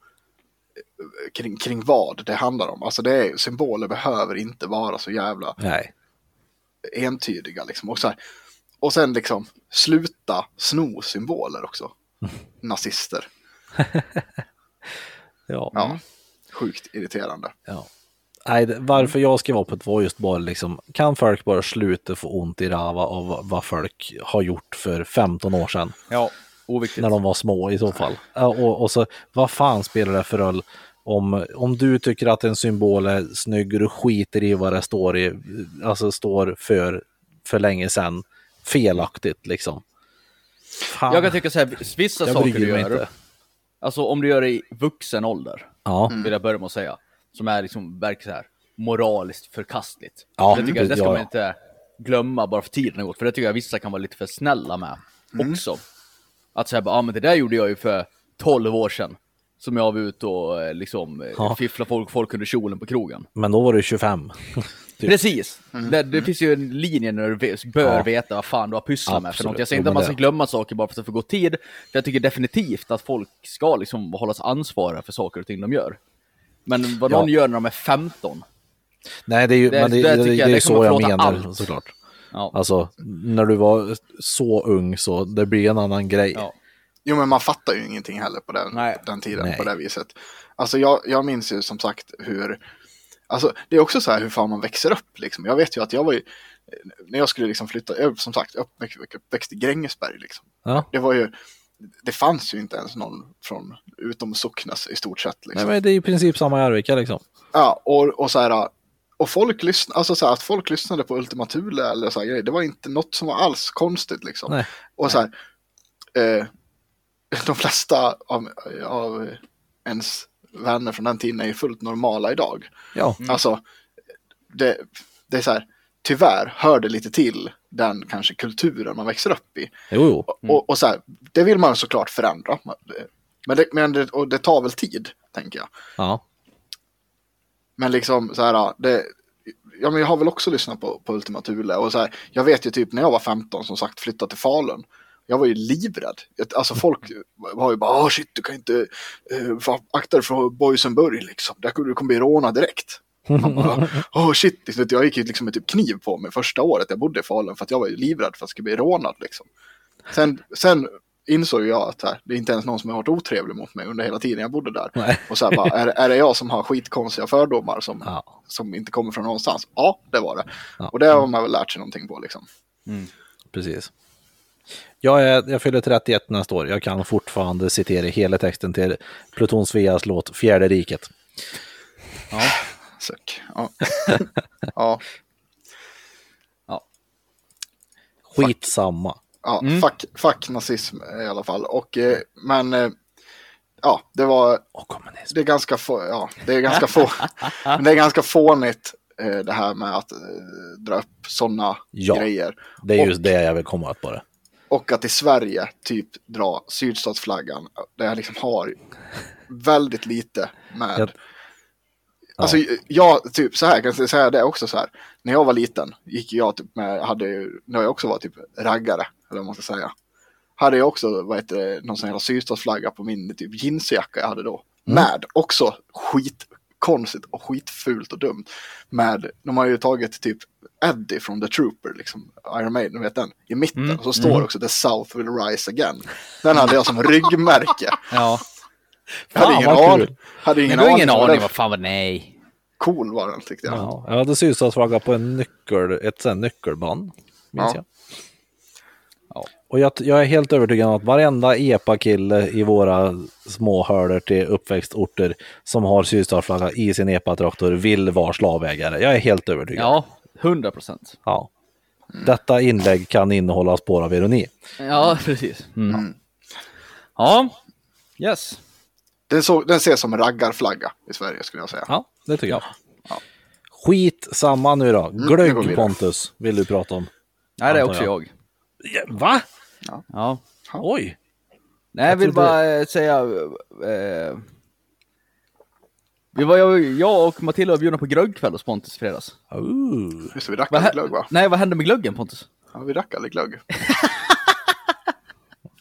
kring, kring vad det handlar om. Alltså det är, symboler behöver inte vara så jävla
Nej.
entydiga. Liksom. Och, så här, och sen liksom sluta sno symboler också. Nazister.
Ja.
Ja, sjukt irriterande.
Ja. Nej, det- varför jag skrev upp det var just bara liksom, kan folk bara sluta få ont i rava av vad- vad folk har gjort för 15 år sedan,
Ja, oviktigt.
när de var små i så fall. Ja, Och, och så, vad fan spelar det för roll om, om du tycker att en symbol är snygg och du skiter i vad det står, i, alltså står för, för länge sedan, felaktigt liksom. Fan,
Jag kan tycka så här, vissa
jag
saker
bryr
du gör,
mig inte.
alltså om du gör det i vuxen ålder,
Ja,
vill jag börja med att säga, som är liksom, verkar så här, moraliskt förkastligt.
Ja,
det, tycker jag, det ska
ja,
man
ja.
inte glömma bara för tiden har gått, för det tycker jag vissa kan vara lite för snälla med också. Att säga bara, ah, men det där gjorde jag ju för 12 år sedan. Som jag var ute och eh, liksom
Ja.
ja. fifflade folk, folk under kjolen på krogen.
men då var du 25. Typ.
Precis! Det, det finns ju en linje när du ve- bör
Ja.
veta vad fan du har pysslat med för
Absolut.
något. Jag säger
Jo,
inte
men
att man ska
det-
glömma saker bara för att det får gå tid. För jag tycker definitivt att folk ska liksom hållas ansvariga för saker och ting de gör. Men vad
Ja.
någon gör när de är 15.
Nej, det är ju
Det-
men det,
där
det,
tycker
det,
jag
är
det
ju
kommer
så jag
förlåta
menar
allt.
såklart.
Ja.
Alltså, när du var så ung så det blir en annan grej.
Ja.
Jo, men man fattar ju ingenting heller på den,
Nej.
den tiden
Nej.
på det viset. Alltså jag, jag minns ju som sagt hur, alltså det är också så här hur fan man växer upp liksom. Jag vet ju att jag var ju, när jag skulle liksom flytta, jag, var som sagt uppväxt, uppväxt i Grängesberg liksom.
Ja.
Det var ju, det fanns ju inte ens någon från utom Socknes i stort sett liksom.
Nej, men det är i princip samma i Arvika liksom.
Ja, och, och så här, och folk lyssnade, alltså så här, att folk lyssnade på Ultima Thule eller så här grejer, det var inte något som var alls konstigt liksom.
Nej.
Och så här, eh, de flesta av, av ens vänner från den tiden är ju fullt normala idag.
Ja,
Alltså, det, det är så här, tyvärr hör det lite till den kanske kulturen man växer upp i.
jo, jo.
Och, och så här, det vill man såklart förändra. Men det, men det, och det tar väl tid, tänker jag.
Ja.
Men liksom så här, det, ja, men jag har väl också lyssnat på, på Ultima Thule och så här, jag vet ju typ när jag var 15 som sagt flyttade till Falun. Jag var ju livrädd. Jag- Alltså folk var ju bara, ah shit du kan inte eh, fa- akta dig från Boysenburg liksom. Där kommer du kommer bli rånad direkt. Man bara, oh shit, liksom, jag gick ju liksom med typ kniv på mig första året jag bodde i Falun för att jag var ju livrädd för att jag skulle bli rånad liksom. Sen, sen insåg jag att här, det är inte ens någon som har varit otrevlig mot mig under hela tiden jag bodde där.
Nej.
Och så här, bara, är, är det jag som har skitkonstiga fördomar som,
Ja.
som inte kommer från någonstans? Ja, det var det.
Ja.
Och det har man väl lärt sig någonting på liksom.
Precis. Jag, är, jag fyller 31 nästa år. Jag kan fortfarande citera hela texten till Pluton Sveas låt Fjärde riket.
Suck. Ja. ja,
Skitsamma.
ja fuck, fuck nazism i alla fall. Och, eh, men eh, ja, det var
Och kommunism.
det är ganska få, ja, det är ganska få, men det är ganska fånigt eh, det här med att eh, dra upp sådana
Ja.
grejer.
Det är
Och-
just det jag vill komma åt bara.
Och att i Sverige typ dra sydstatsflaggan, där jag liksom har väldigt lite med...
Jag-
Alltså jag, typ så här, kan jag säga det också så här. När jag var liten gick jag typ med, hade ju, när jag också var typ raggare, eller vad man ska säga. Hade jag också, vad heter det, någon sån här sydstatsflagga på min typ jeansjacka jag hade då.
Mm.
Med också skitkonstigt och skitfult och dumt. Med, de har ju tagit typ Eddie från The Trooper, liksom Iron Maiden, du vet den, i mitten.
Mm.
Och så står också The South will rise again. Den hade jag som ryggmärke.
Ja.
Jag hade
Fan,
ingen
vad
aning.
kul.
Hade
Men
ingen
du har ingen aning
den-
vad fan, vad- nej.
Cool var den tyckte jag.
Ja, jag hade sysselsatsflagga på en nyckel, ett sånt nyckelband. Minns
Ja.
jag.
Ja.
Och jag, jag är helt övertygad om att varenda EPA-kille i våra små hörder till uppväxtorter som har sydstatsflagga i sin EPA-traktor vill vara slavägare. Jag är helt övertygad.
Ja, 100 procent.
Ja. Detta inlägg kan innehålla spår av ironi.
Ja, precis. Mm. Ja, yes.
Den, så, den ses som en raggarflagga i Sverige skulle jag säga.
Ja, det tycker jag. Skit samma nu då.
vi Mm, går
Glögg
vidare.
Pontus vill du prata om.
Nej, det är
Antar
också
jag.
jag.
Ja, Va?
Ja.
Oj!
Nej, jag vill
trodde-
bara eh, säga... Eh, vi var, jag, jag och Matilda var bjudna på glöggkväll hos Pontus i fredags.
Ooh.
Just det, vi
Vad
rackade
hä-
glögg va?
Nej, vad hände med glöggen Pontus?
Ja, vi rackade glögg.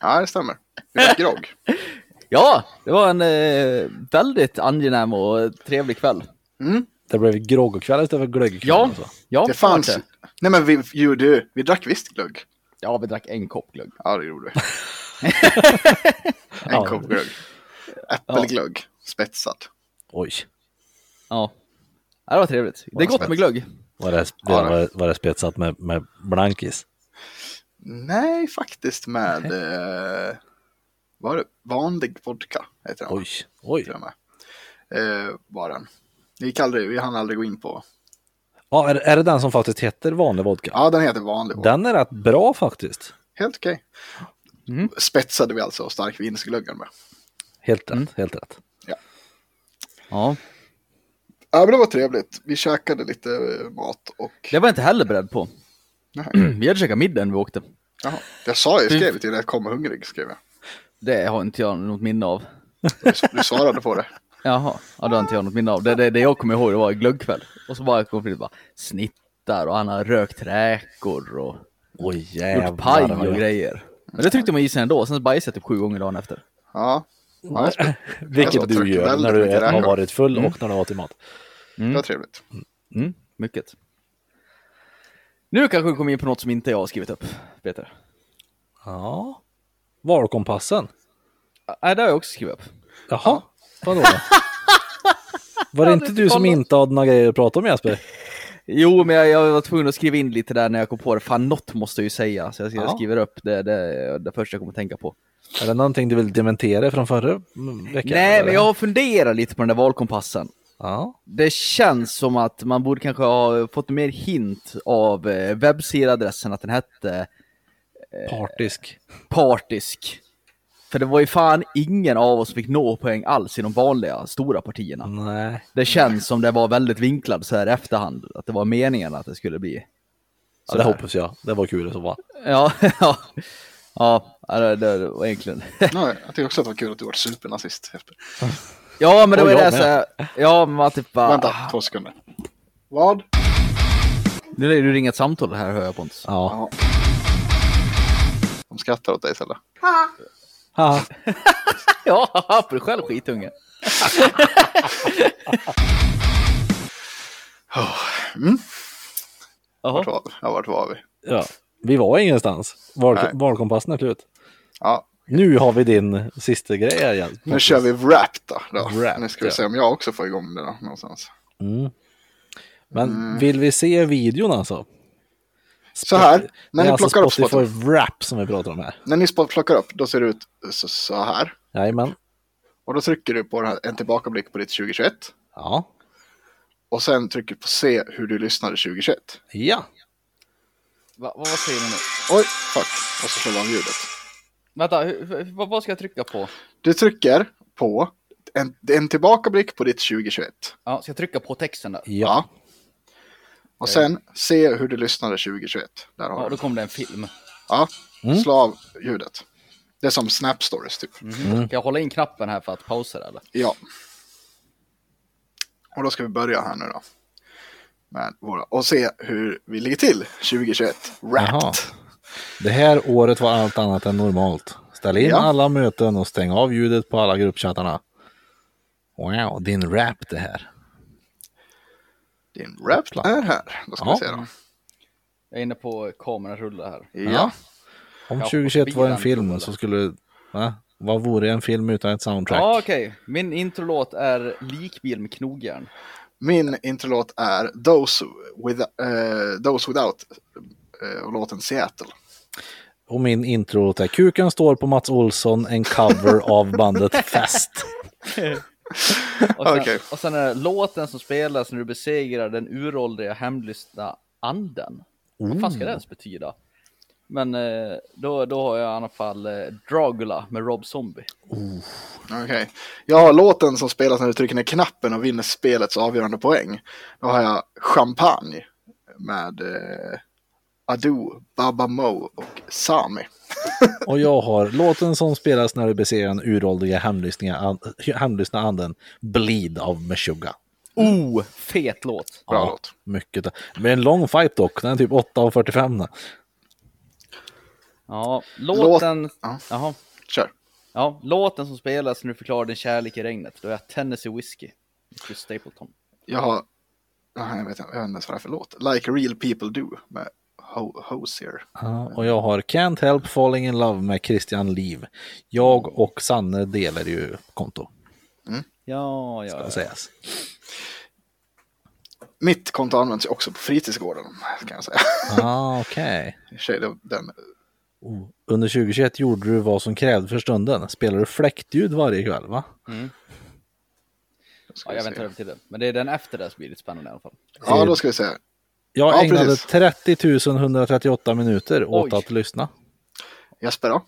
ja, det stämmer. Vi drack grogg.
Ja, det var en eh, väldigt angenäm och trevlig kväll.
Det blev groggkväll istället för glöggkväll.
Ja,
alltså.
ja
Det fanns...
det.
Nej men vi, jo, du, vi drack visst glögg.
Ja, vi drack en kopp glögg.
Ja, det gjorde vi. En kopp glögg. Äppelglögg. Spetsad.
Oj,
Ja. Ja, det var trevligt. Det är gott med glögg.
var det,
Ja,
var, det- var det spetsat med, med blankis?
Nej, faktiskt med... Eh, var det vanlig vodka? Heter den. va?
Oj, oj.
Till och med. Eh, var den. Vi, gick aldrig, vi hann aldrig gå in på...
Ja, är, är det den som faktiskt heter vanlig vodka?
Ja, den heter vanlig vodka.
Den är rätt bra faktiskt.
Helt okej. Spetsade vi alltså starkvinsglöggen med.
Helt rätt, helt rätt.
Ja.
Ja, men det var trevligt. Vi käkade lite eh, mat och...
Det var jag inte heller beredd på.
Nej.
Vi hade käkat middag när vi åkte.
Jaha. Jag sa ju, skrev till dig att jag kom hungrig, skrev jag.
Det har inte jag något minne av.
Du, du svarade på det.
Jaha, ja, det har inte jag något minne av. Det, det, det jag kommer ihåg det var glöggkväll. Och så bara kom Filip och bara snittar och han har rökt räkor och
Oj
gjort paj
vad
och
jag-
grejer. Men det tryckte man i sig ändå, sen bajsade jag typ sju gånger dagen efter.
Ja. ja det var- Jag
Vilket du
tryckte
gör
väldigt
när du
mycket
har
räkor.
varit full och när du har åt din mat.
det var trevligt.
Mm, mycket. Nu kanske vi kommer in på något som inte jag har skrivit upp, Peter.
Ja. Valkompassen.
Nej, Äh, det har jag också skrivit upp.
Jaha, vadå? Var det inte du som
kollat.
inte hade några grejer att prata om Jesper?
Jo, men jag, jag var tvungen att skriva in lite där när jag kom på det. Fan, något måste jag ju säga. Så jag, jag
Ja.
skriver upp det, det, det första jag kommer att tänka på.
Är det någonting du vill dementera från förra mm, veckan?
Nej,
eller?
men jag har funderat lite på den där valkompassen.
Ja.
Det känns som att man borde kanske ha fått mer hint av eh, webbsidadressen att den hette
Partisk.
Partisk. För det var ju fan ingen av oss som fick nå poäng alls i de vanliga stora partierna.
Nej.
Det känns som det var väldigt vinklad så här i efterhand. Att det var meningen att det skulle bli.
Så det hoppas jag. Det var kul i så fall.
Ja, ja. Ja, det, det var egentligen.
Ja, jag tycker också att det var kul att du var supernazist. Jesper.
Ja, men det
Och
var ju
jag
det så här. Ja, men man typ bara...
Vänta, två sekunder. Vad?
Nu är du ringa ett samtal här hör jag Pontus.
Ja.
Ja. De skrattar åt dig Sella.
Haha.
Ja, för själv skitunge.
Mm.
Jaha.
Vart var vi? Ja, vart var vi?
ja. Vi var ingenstans. Val-
Nej.
valkompassen är slut.
Ja,
Nu har vi din sista grej här igen.
nu kör vi rap då. då.
Wrap,
nu ska vi
ja.
se om jag också får igång det då, någonstans.
Mm. Men vill vi se videon alltså?
Så här,
Det
när
är
ni
alltså
plockar upp
Spotify
Spotify.
Wrap som vi pratar om här.
När ni spot- plockar upp, då ser det ut så, så här.
Jajamän.
Och då trycker du på den här, en tillbakablick på ditt 2021.
Ja.
Och sen trycker du på se hur du lyssnade 2021.
Ja.
Va, vad säger du nu?
Oj, fuck. Och så slår man ljudet.
Vänta, hur, vad, vad ska jag trycka på?
Du trycker på en, en tillbakablick på ditt 2021.
Ja, ska jag trycka på texten där?
Ja.
Och sen se hur du lyssnade 2021. Där har
Ja,
du.
då
den.
kom det en film.
Ja,
Mm.
slå av ljudet. Det är som Snap Stories typ.
Kan jag hålla in knappen här för att pausa det eller?
Ja. Och då ska vi börja här nu då. Med våra, och se hur vi ligger till 2021.
Jaha.
Wrapped.
Det här året var allt annat än normalt. Ställ in
Ja.
alla möten och stäng av ljudet på alla gruppchattarna. Wow, din rap det här.
Din rap är här. Då ska
Ja.
vi se då.
Jag är inne på kamerarulla här.
Ja.
Ja. Om
Ja, och
2021 var en
bilen, tror
film
jag.
så skulle... Va? Vad vore en film utan ett soundtrack?
Ja, okej. Min introlåt är Likbil med knogjärn.
Min introlåt är Those, with, eh, Those Without eh, och låten Seattle.
Och min intro är Kuken står på Mats Olsson, en cover av bandet Fest.
Och sen,
Okej.
och sen är det låten som spelas när du besegrar den uråldriga hemlysta anden. Vad fan ska det ens betyda? Men eh, då, då har jag i alla fall eh, Dragula med Rob Zombie.
Okej. Jag har låten som spelas när du trycker ner knappen och vinner spelets avgörande poäng. Då har jag Champagne med eh, Ado, Baba Mo och Sami.
Och jag har låten som spelas när du beser den uråldriga hemlyssninga- an- hemlyssna anden Bleed av Meshuggah.
Oh, fet låt!
Bra låt.
Mycket. Men en lång fight dock, den är typ 8.45.
Ja, låten...
ja.
Jaha.
Kör.
Ja, låten som spelas när du förklarar din kärlek i regnet, då är Tennessee Whiskey. Just Stapleton.
Jag har... Ah, Jag vet, inte- jag vet inte ens vad det är för låt. Like real people do med Ho- Hosier.
Ja, och jag har Can't Help Falling In Love med Christian Liv. Jag och Sanne delar ju konto,
Ja, ja,
ska
ja.
sägas.
Mitt konto används ju också på fritidsgården kan jag säga.
Ah, okej.
I och för sig, det- Den,
Oh. Under 2021 gjorde du vad som krävdes för stunden. Spelar du fläktljud varje kväll, va?
ja jag väntar över till det. Men det är den efter det som blir lite spännande i alla fall.
ja, då ska vi se.
Jag
Ja,
ägnade
precis.
30 138 minuter åt
Oj.
att lyssna. Eh,
Jesper då?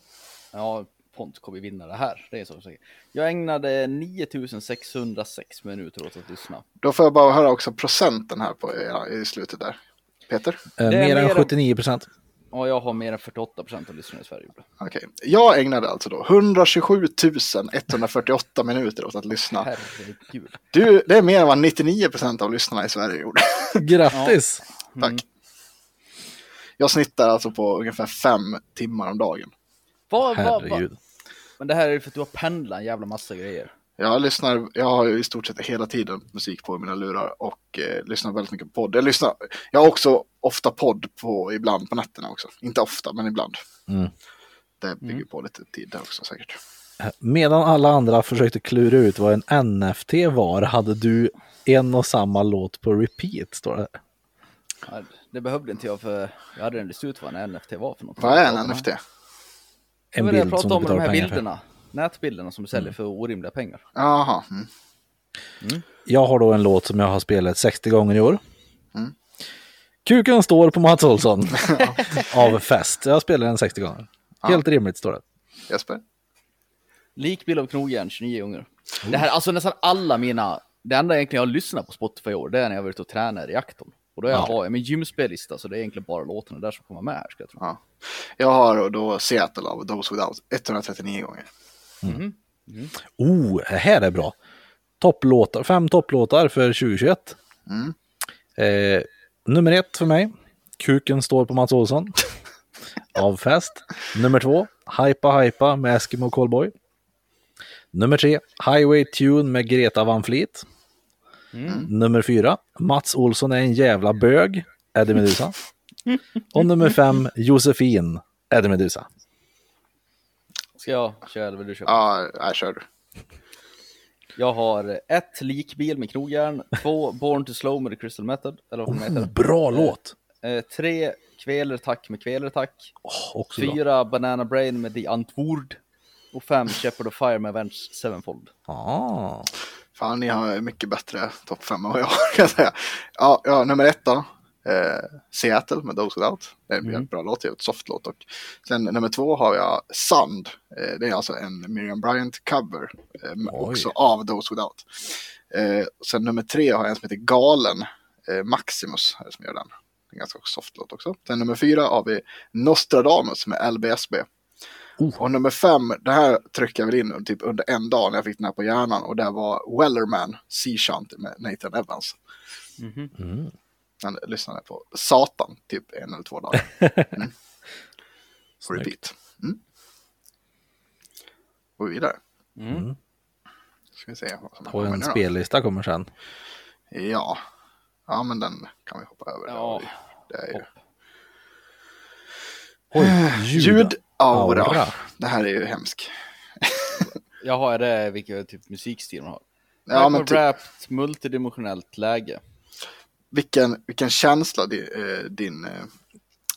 Ja, Pont kommer ju vinna det här. Det är så säkert. Jag ägnade 9606 minuter åt att lyssna.
Då får jag bara höra också procenten här på, ja, i slutet där. Peter?
Eh,
Det är
mer än
mer än-
79 procent.
Ja, jag har mer än 48 procent av lyssnarna i Sverige. gjorde.
Okej. Jag ägnade alltså då 127 148 minuter åt att lyssna.
Herregud.
Du, det är mer än vad 99 procent av lyssnarna i Sverige gjorde.
Grattis!
Tack. Jag snittar alltså på ungefär fem timmar om dagen.
Vad, vad, vad?
Herregud.
Men det här är ju för att du har pendlat en jävla massa grejer.
Jag lyssnar, jag har ju i stort sett hela tiden musik på i mina lurar och eh, lyssnar väldigt mycket på podd. Jag lyssnar, jag har också ofta podd på ibland på nätterna också. Inte ofta, men ibland.
Mm.
Det bygger på lite tid där också säkert.
Medan alla andra försökte klura ut vad en NFT var hade du en och samma låt på repeat, står det.
Ja, Det behövde inte jag för jag hade redan listat ut vad en NFT var för något.
Vad är en NFT?
En
En
bild jag
bild
pratade
som du
om de
betalar
här
pengar för. Mm.
bilderna. Nätbilderna som du säljer för orimliga pengar.
Jaha. Mm.
Jag har då en låt som jag har spelat 60 gånger i år.
Mm.
Kuken står på Mats Olsson av Fest. Jag spelar den 60 gånger. Helt rimligt står det.
Jesper?
Likbild av knogjärn 29 gånger. Det här, alltså nästan alla mina, det enda egentligen jag har lyssnat på Spotify i år, det är när jag var ute och tränade i Acton. Och då har jag
Ja.
har jag min gymspellista, så det är egentligen bara låtarna där som kommer med här. Ska jag tro.
Ja. Jag har då Seattle av Those Without 139 gånger.
Oh, det här är bra. Topplåtar, fem topplåtar för 2021.
Mm.
Eh, nummer ett för mig, Kuken står på Mats Olsson. av Fest. Nummer två, Hypa Hypa med Eskimo Callboy. Nummer tre, Highway Tune med Greta Van Fleet.
Mm.
Nummer fyra, Mats Olsson är en jävla bög, Eddie Meduza. Och nummer fem, Josefin, Eddie Meduza.
Ska jag köra eller vill du köra?
Ja, jag kör du.
Jag har ett likbil med knogjärn, två Born to Slow med The Crystal Method, eller vad de heter.
Oh, bra låt!
Eh, tre Kvelertack med Kvelertack.
Oh, också bra.
Fyra Banana Brain med The Antwoord. Och fem Shepard of Fire med Avenged Sevenfold.
Ah.
Fan, ni har mycket bättre topp fem än vad jag har kan jag säga. Ja, ja, nummer ett då. Eh, Seattle med Those Without. Det är en bra låt, det är ett soft låt dock. Sen nummer två har jag Sand. Eh, det är alltså en Miriam Bryant-cover. Eh, men
Oj.
också av Those Without. Eh, sen nummer tre har jag en som heter Galen. Eh, Maximus är det som gör den. En ganska soft låt också. Sen nummer fyra har vi Nostradamus med LBSB. Och nummer fem, det här tryckte jag väl in typ under en dag när jag fick den här på hjärnan och det var Wellerman Sea Shanty med Nathan Evans.
Mhm.
Han lyssnade på Satan typ en eller två dagar. Mm. På repeat. Mm. Går vi vidare. Ska vi se vad som
Och
kommer
Mm. en
nu då.
spellista kommer sen.
Ja. ja, men den kan vi hoppa över.
Ja.
Det är ju...
Oj, Eh, ljud.
Ljudaura.
Aura.
Det här är ju hemskt.
Jag har det, vilka typ musikstil man har.
Ja, men
Rap,
typ-
rapt, multidimensionellt läge.
Vilken, vilken känsla din, eh, din, eh,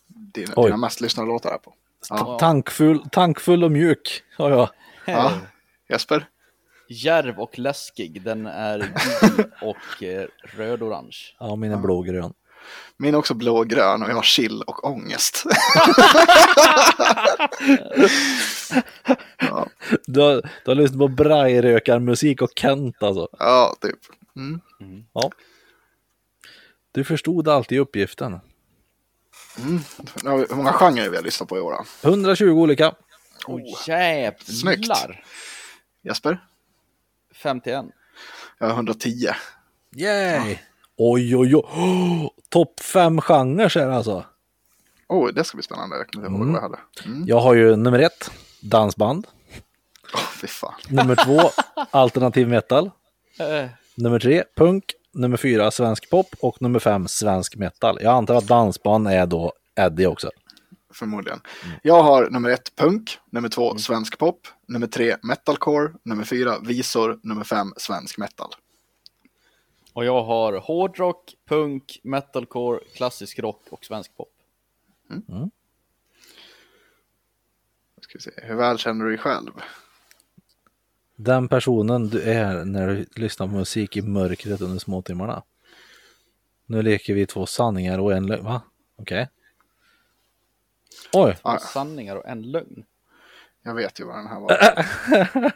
din,
Oj.
dina mest lyssnade låtar är på. Ja.
Tankfull, tankfull och mjuk har jag.
ja. Jesper?
Järv och läskig, den är gul och eh, röd-orange.
Ja, min är blågrön.
Min är också blågrön och jag har chill och ångest. ja,
Du har, du har lyssnat på brajrökarmusik och Kent alltså.
ja, typ. Mm.
Ja. Du förstod alltid uppgiften.
Nu har vi- Hur många genrer vi har lyssnat på i år då?
120 olika.
Åh jävlar!
Oh. Snyggt. Jesper?
51.
Jag har 110.
Yay! Oj, oj, oj. Oh, Topp fem genrer är det alltså.
Oh, det ska bli spännande. Jag kommer inte ihåg vad jag hade. Mm.
Jag har ju nummer ett, dansband.
Åh, fy fan.
Nummer två, alternativ metal.
Eh,
Nummer tre, punk. Nummer fyra, svensk pop. Och nummer fem, svensk metal. Jag antar att dansband är då Eddie också.
Förmodligen. Jag har nummer ett punk, nummer två svensk pop, nummer tre metalcore, nummer fyra visor, nummer fem svensk metal.
Och jag har hårdrock, punk, metalcore, klassisk rock och svensk pop.
Ska vi se. Hur väl känner du dig själv?
Den personen du är när du lyssnar på musik i mörkret under småtimmarna. Nu leker vi två sanningar och en lögn. Va? Okej. Oj,
Ja.
Och sanningar och en lögn.
Jag vet ju vad den här var.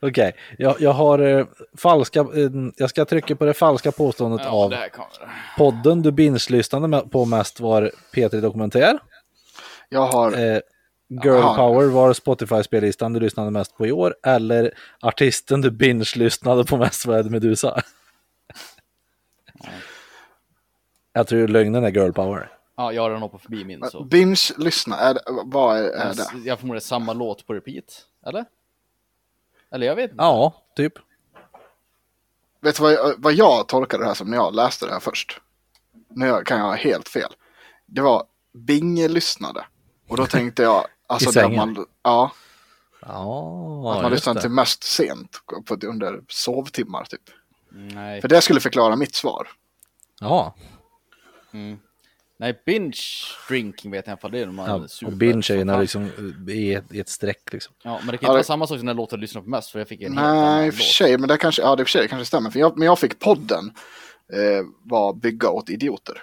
okej. Jag, jag har eh, falska... Eh, jag ska trycka på det falska påståendet av
här kommer.
podden du binge-lyssnade med- på mest var P3 Dokumentär.
Jag har...
Eh, Girl
Aha.
Power var Spotify-spellistan du lyssnade mest på i år eller artisten du binge-lyssnade på mest vad är det Medusa? Jag tror lögnen är Girl Power.
Ja, jag har den hoppat förbi min så.
Binge, lyssna, är, det- vad är, är det?
Jag förmodar samma låt på repeat, eller? Eller jag vet inte.
Ja, typ.
Vet du vad jag, vad jag tolkade det här som när jag läste det här först? Nu jag- kan jag ha helt fel. Det var binge-lyssnade. Och då tänkte jag, alltså
I
där
sängen?
man, ja,
Ja,
att man
just
lyssnar
det.
till mest sent på, under sovtimmar typ.
Mm, Nej.
För det skulle förklara mitt svar.
Ja,
Nej, binge drinking vet jag i alla fall. Det är när man
ja.
super.
och binge är ju när liksom, eh, i, ett, i ett streck liksom.
Ja, men det kan
Ja,
inte vara
det-
samma sak som den låt jag lyssnar på mest, för jag fick en helt
Nej, i
annan
och för
låt.
sig, men det kanske, ja, det i och för sig det kanske stämmer. För jag, men jag fick podden eh, var Bygga åt idioter.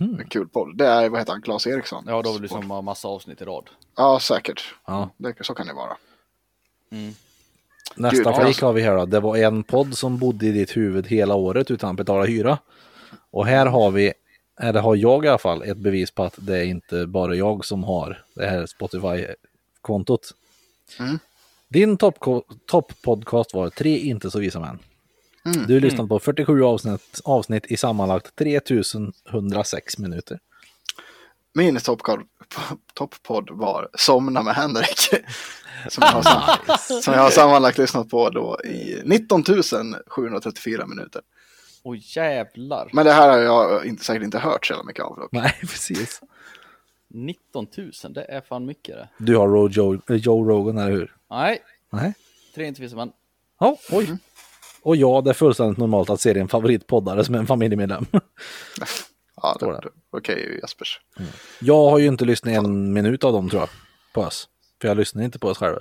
En kul podd. Det är, vad heter han, Claes Eriksson?
Mhm. Ja, då har vi liksom bara massa avsnitt i rad.
Ja, säkert.
Ja.
Det, så kan det vara.
Nästa
Gud,
flik
alltså.
har vi här då. Det var en podd som bodde i ditt huvud hela året utan att betala hyra. Och här har vi, eller har jag i alla fall, ett bevis på att det är inte bara jag som har det här Spotify-kontot. Din toppko- topp-podcast var Tre inte så visa män. Du lyssnade på 47 avsnitt, avsnitt i sammanlagt 3106 minuter.
Min toppkod- topppodd var Somna med Henrik. Som jag, har sam- som jag har sammanlagt lyssnat på då i 19 734 minuter.
Åh jävlar!
Men det här har jag inte, säkert inte hört så jävla mycket av. dock.
Nej, precis.
19 000, det är fan mycket det.
Du har Ro- Joe, eh, Joe Rogan, eller hur?
Nej,
Nej.
tre inte vissa man.
Ja, oj.
Mm.
Och ja, det är fullständigt normalt att se din favoritpoddare som en familjemedlem.
Ja, det
Står det.
var okej Jespers.
Jag har ju inte lyssnat en minut av dem tror jag, på oss. För jag lyssnar inte på oss själva.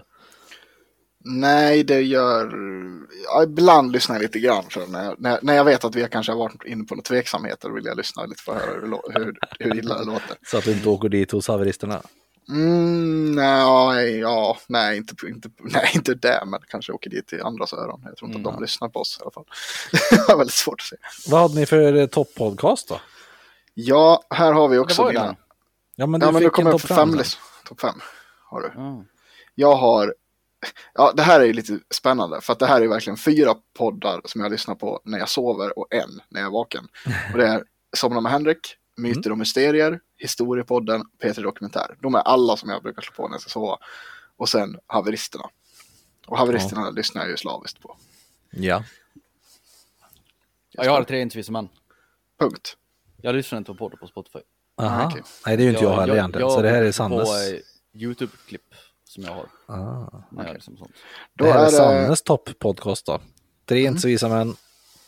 Nej, det gör... Ja, ibland lyssnar jag lite grann. För när, jag, när, när jag vet att vi kanske har varit inne på några tveksamheter vill jag lyssna lite för att höra hur, det lå- hur, hur illa det låter.
Så att du inte åker dit hos haveristerna.
Mm, nej, ja, nej, inte, på- inte, på- nej, inte det, men kanske åker dit till andras öron. Jag tror inte
Mm.
att de lyssnar på oss i alla fall. det är väldigt svårt att se.
Vad hade ni för eh, topp-podcast då?
Ja, här har vi
Det
också
var ju
mina.
den.
Ja, men du
Ja, men
fick
nu kommer
en
jag
topp
på
fem.
fem.
sen.
list- Topp fem har du.
Ja.
Jag har, ja det här är ju lite spännande för att det här är verkligen fyra poddar som jag lyssnar på när jag sover och en när jag är vaken. Och det är Somna med Henrik, Myter och Mysterier, Historiepodden, P3 Dokumentär. De är alla som jag brukar slå på när jag ska sova. Och sen Haveristerna. Och Haveristerna lyssnar jag ju slaviskt på.
Ja.
Ja, jag har tre inte vissa man.
Punkt.
Jag lyssnar inte på poddar på Spotify.
Aha.
Ah, okej.
Nej, det är ju inte jag, heller egentligen. så det här är Sannes.
På eh, YouTube-klipp som jag har.
Ah.
När jag liksom sånt.
Då
det här är,
är det, Mm.
Sannes topp-podcast då. Tre inte så visa män,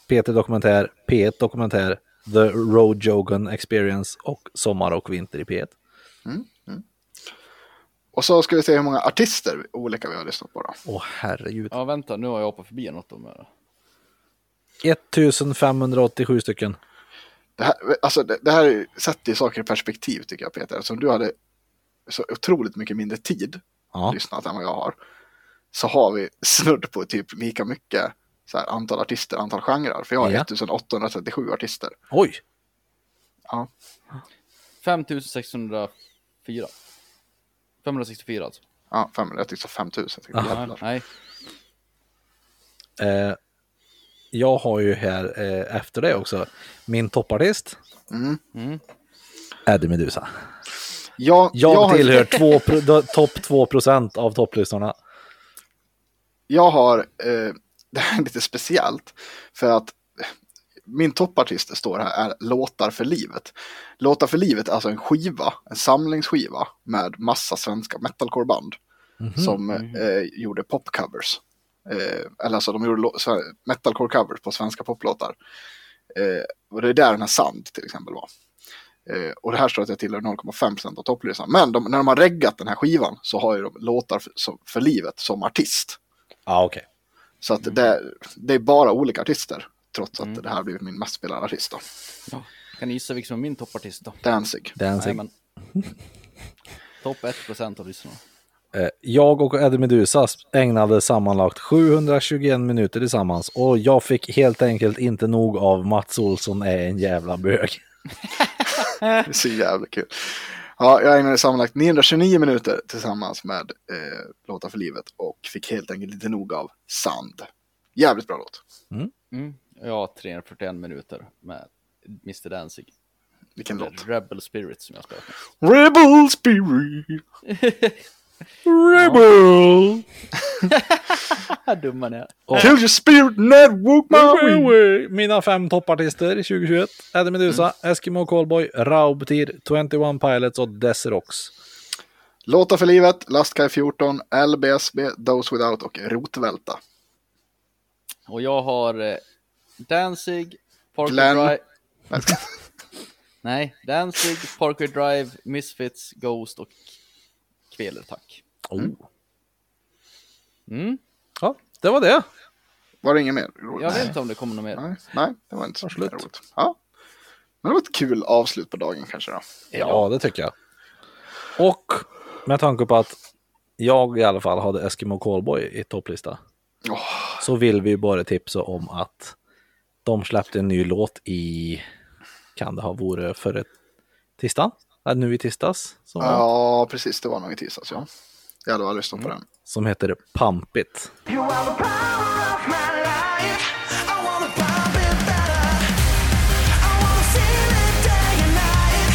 Peter Dokumentär, P1 Dokumentär, The Road Jogan Experience och Sommar och Vinter i P1.
och så ska vi se hur många artister olika vi har lyssnat på då.
Åh herregud.
Ja, vänta, nu har jag hoppat förbi något om det. här.
1587 stycken.
Det här, alltså, det, det här är- sätter ju saker i perspektiv tycker jag Peter. Eftersom du hade så otroligt mycket mindre tid
Ja.
lyssnat än vad jag har. Så har vi snudd på typ lika mycket så här, antal artister, antal genrer. För jag har
Ja.
1837 artister.
Oj!
5604. 564 alltså.
Ja, 500, jag tyckte 5000. Jag
Aha.
tänkte, jävlar.
Nej,
Eh, jag har ju här eh, efter det också min toppartist. Eddie Meduza.
jag,
Jag,
jag, har,
tillhör två pro- de- topp 2 procent av topplyssnarna.
jag har, eh, det här är lite speciellt. För att min toppartist står här är Låtar för livet. Låtar för livet är alltså en skiva, en samlingsskiva med massa svenska metalcoreband som eh, gjorde popcovers. Eh, eller alltså de gjorde lå- sve- metalcore-covers på svenska poplåtar. Eh, och det är där den här Sand till exempel var. Eh, och det här står att jag tillhör 0,5% av topplistan. Men de, när de har reggat den här skivan så har ju de låtar för, som, för livet som artist.
Ja, ah, okej.
Så att det, det är bara olika artister. Trots att det här har blivit min mest spelade artist då.
kan ni gissa vilken som är min toppartist då?
Danzig.
Dancing.
Jajamän. Topp 1% av lyssnarna.
Eh, jag och Eddie Meduza ägnade sammanlagt 721 minuter tillsammans och jag fick helt enkelt inte nog av Mats Olsson är en jävla bög.
Det är så jävla kul. Ja, jag ägnade sammanlagt 929 minuter tillsammans med eh, Låtar för livet och fick helt enkelt lite nog av Sand. Jävligt bra låt.
Mm. Ja, 341 minuter med Mr Danzig.
Vilken
Eller
låt.
Rebel Spirit som jag spelat med.
Rebel spirit.
Rebel!
Vad dumma ni är.
Kill your spirit network my way.
Mina fem toppartister 2021. Eddie Meduza, Eskimo Callboy, Raubtir, 21 Pilots och Desirox.
Låtar för livet, Lastkaj 14, LBSB, Those Without och Rotvälta.
Och jag har eh, Danzig, Parker
Glenn.
Drive.
Jag ska-
Nej, Danzig, Parker Drive, Misfits, Ghost och Kveler, tack.
Oh.
Mm.
Ja, det var det.
Var det inget mer?
Jag vet inte om det kommer något mer.
Nej, nej, det var inte så
Slut.
roligt. Ja. Men det var ett kul avslut på dagen kanske då.
Ja, det tycker jag. Och med tanke på att jag i alla fall hade Eskimo Callboy i topplista
Åh,
så vill vi ju bara tipsa om att de släppte en ny låt i, kan det ha varit förra tisdagen? Ja, nu i tisdags. Som, var,
ja, precis. Det var nog i tisdags, ja. Jag hade bara lyssnat på
Mm.
den.
som heter Pump It.
You are the power of my life. I wanna pump it better. I wanna feel it day and night.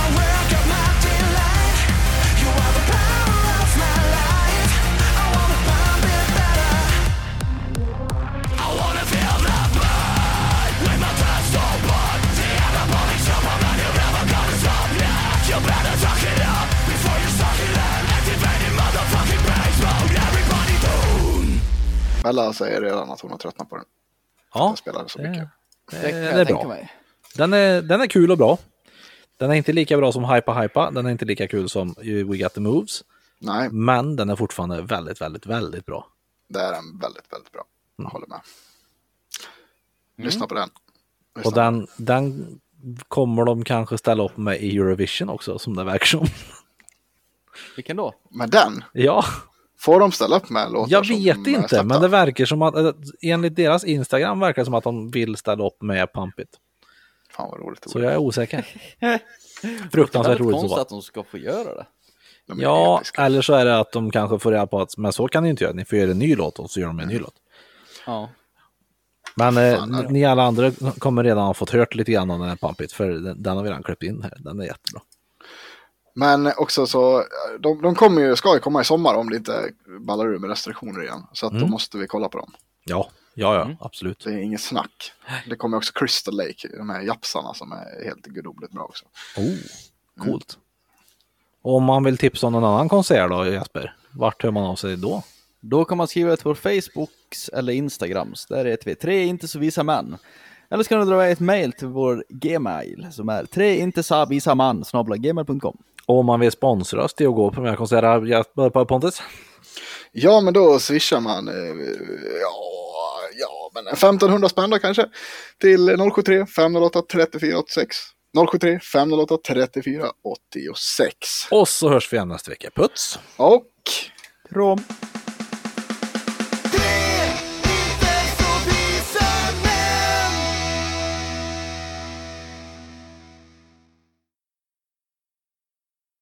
My work of my delight. You are the power of my life. I wanna pump it better. I wanna feel the burn when my time's over. The ever burning summer that you're never gonna stop. Yeah, you better suck it up before you suck it in. Activating motherfucking brains mode. Everybody down.
Bella säger redan att hon har tröttnat på den.
Ja,
Den spelade så
det-
mycket.
det,
kan jag
det är
tänka
bra.
mig.
Eh, Den är, den är kul och bra. Den är inte lika bra som Hypa Hypa, den är inte lika kul som We Got The Moves,
Nej,
men den är fortfarande väldigt, väldigt, väldigt bra.
det är en väldigt, väldigt bra. Jag
Mm.
håller med. Lyssna på den. Lyssna
Och den, den kommer de kanske ställa upp med i Eurovision också, som det verkar som.
Vilken då?
Men den?
Ja,
Får de ställa upp med låtar
jag
som
vet
är
inte,
släppta?
men det verkar som att, eh, enligt deras Instagram verkar det som att de vill ställa upp med Pump It.
Fan vad roligt det
Så
vore.
jag är osäker.
Det är
Fruktansvärt
väldigt
roligt att
konstigt
vara.
att de ska få göra det.
De är
Ja,
episka.
eller så är det att de kanske får reda på att, men så kan ni inte göra, ni får göra en ny låt och så gör de en ny låt.
Ja.
Men eh,
Fan,
ni alla andra kommer redan ha fått hört lite grann om den här Pump It, för den, den har vi redan klippt in här. Den är jättebra.
Men också så, de, de kommer ju, ska ju komma i sommar om det inte ballar ur med restriktioner igen. Så att då
Mm.
måste vi kolla på dem.
Ja, ja, ja, absolut.
Det är inget snack. Det kommer också Crystal Lake, de här japsarna som är helt gudomligt bra också.
Oh, coolt. Och Mm. om man vill tipsa om någon annan konsert då, Jesper? Vart hör man av sig då?
Då kan man skriva till vår Facebooks eller Instagrams. Där heter vi tre inte så visa män. Eller så kan du dra iväg ett mail till vår gmail som är tre inte så visa man snabla gmail.com.
Och om man vill sponsra oss till att gå på mina konserter, Jesper på Pontus?
Ja, men då swishar man, eh, ja, ja, men 1500 spänn då kanske. Till 073 508 3486. 073 508 3486.
Och så hörs vi igen nästa vecka. Puts!
Och
Krom.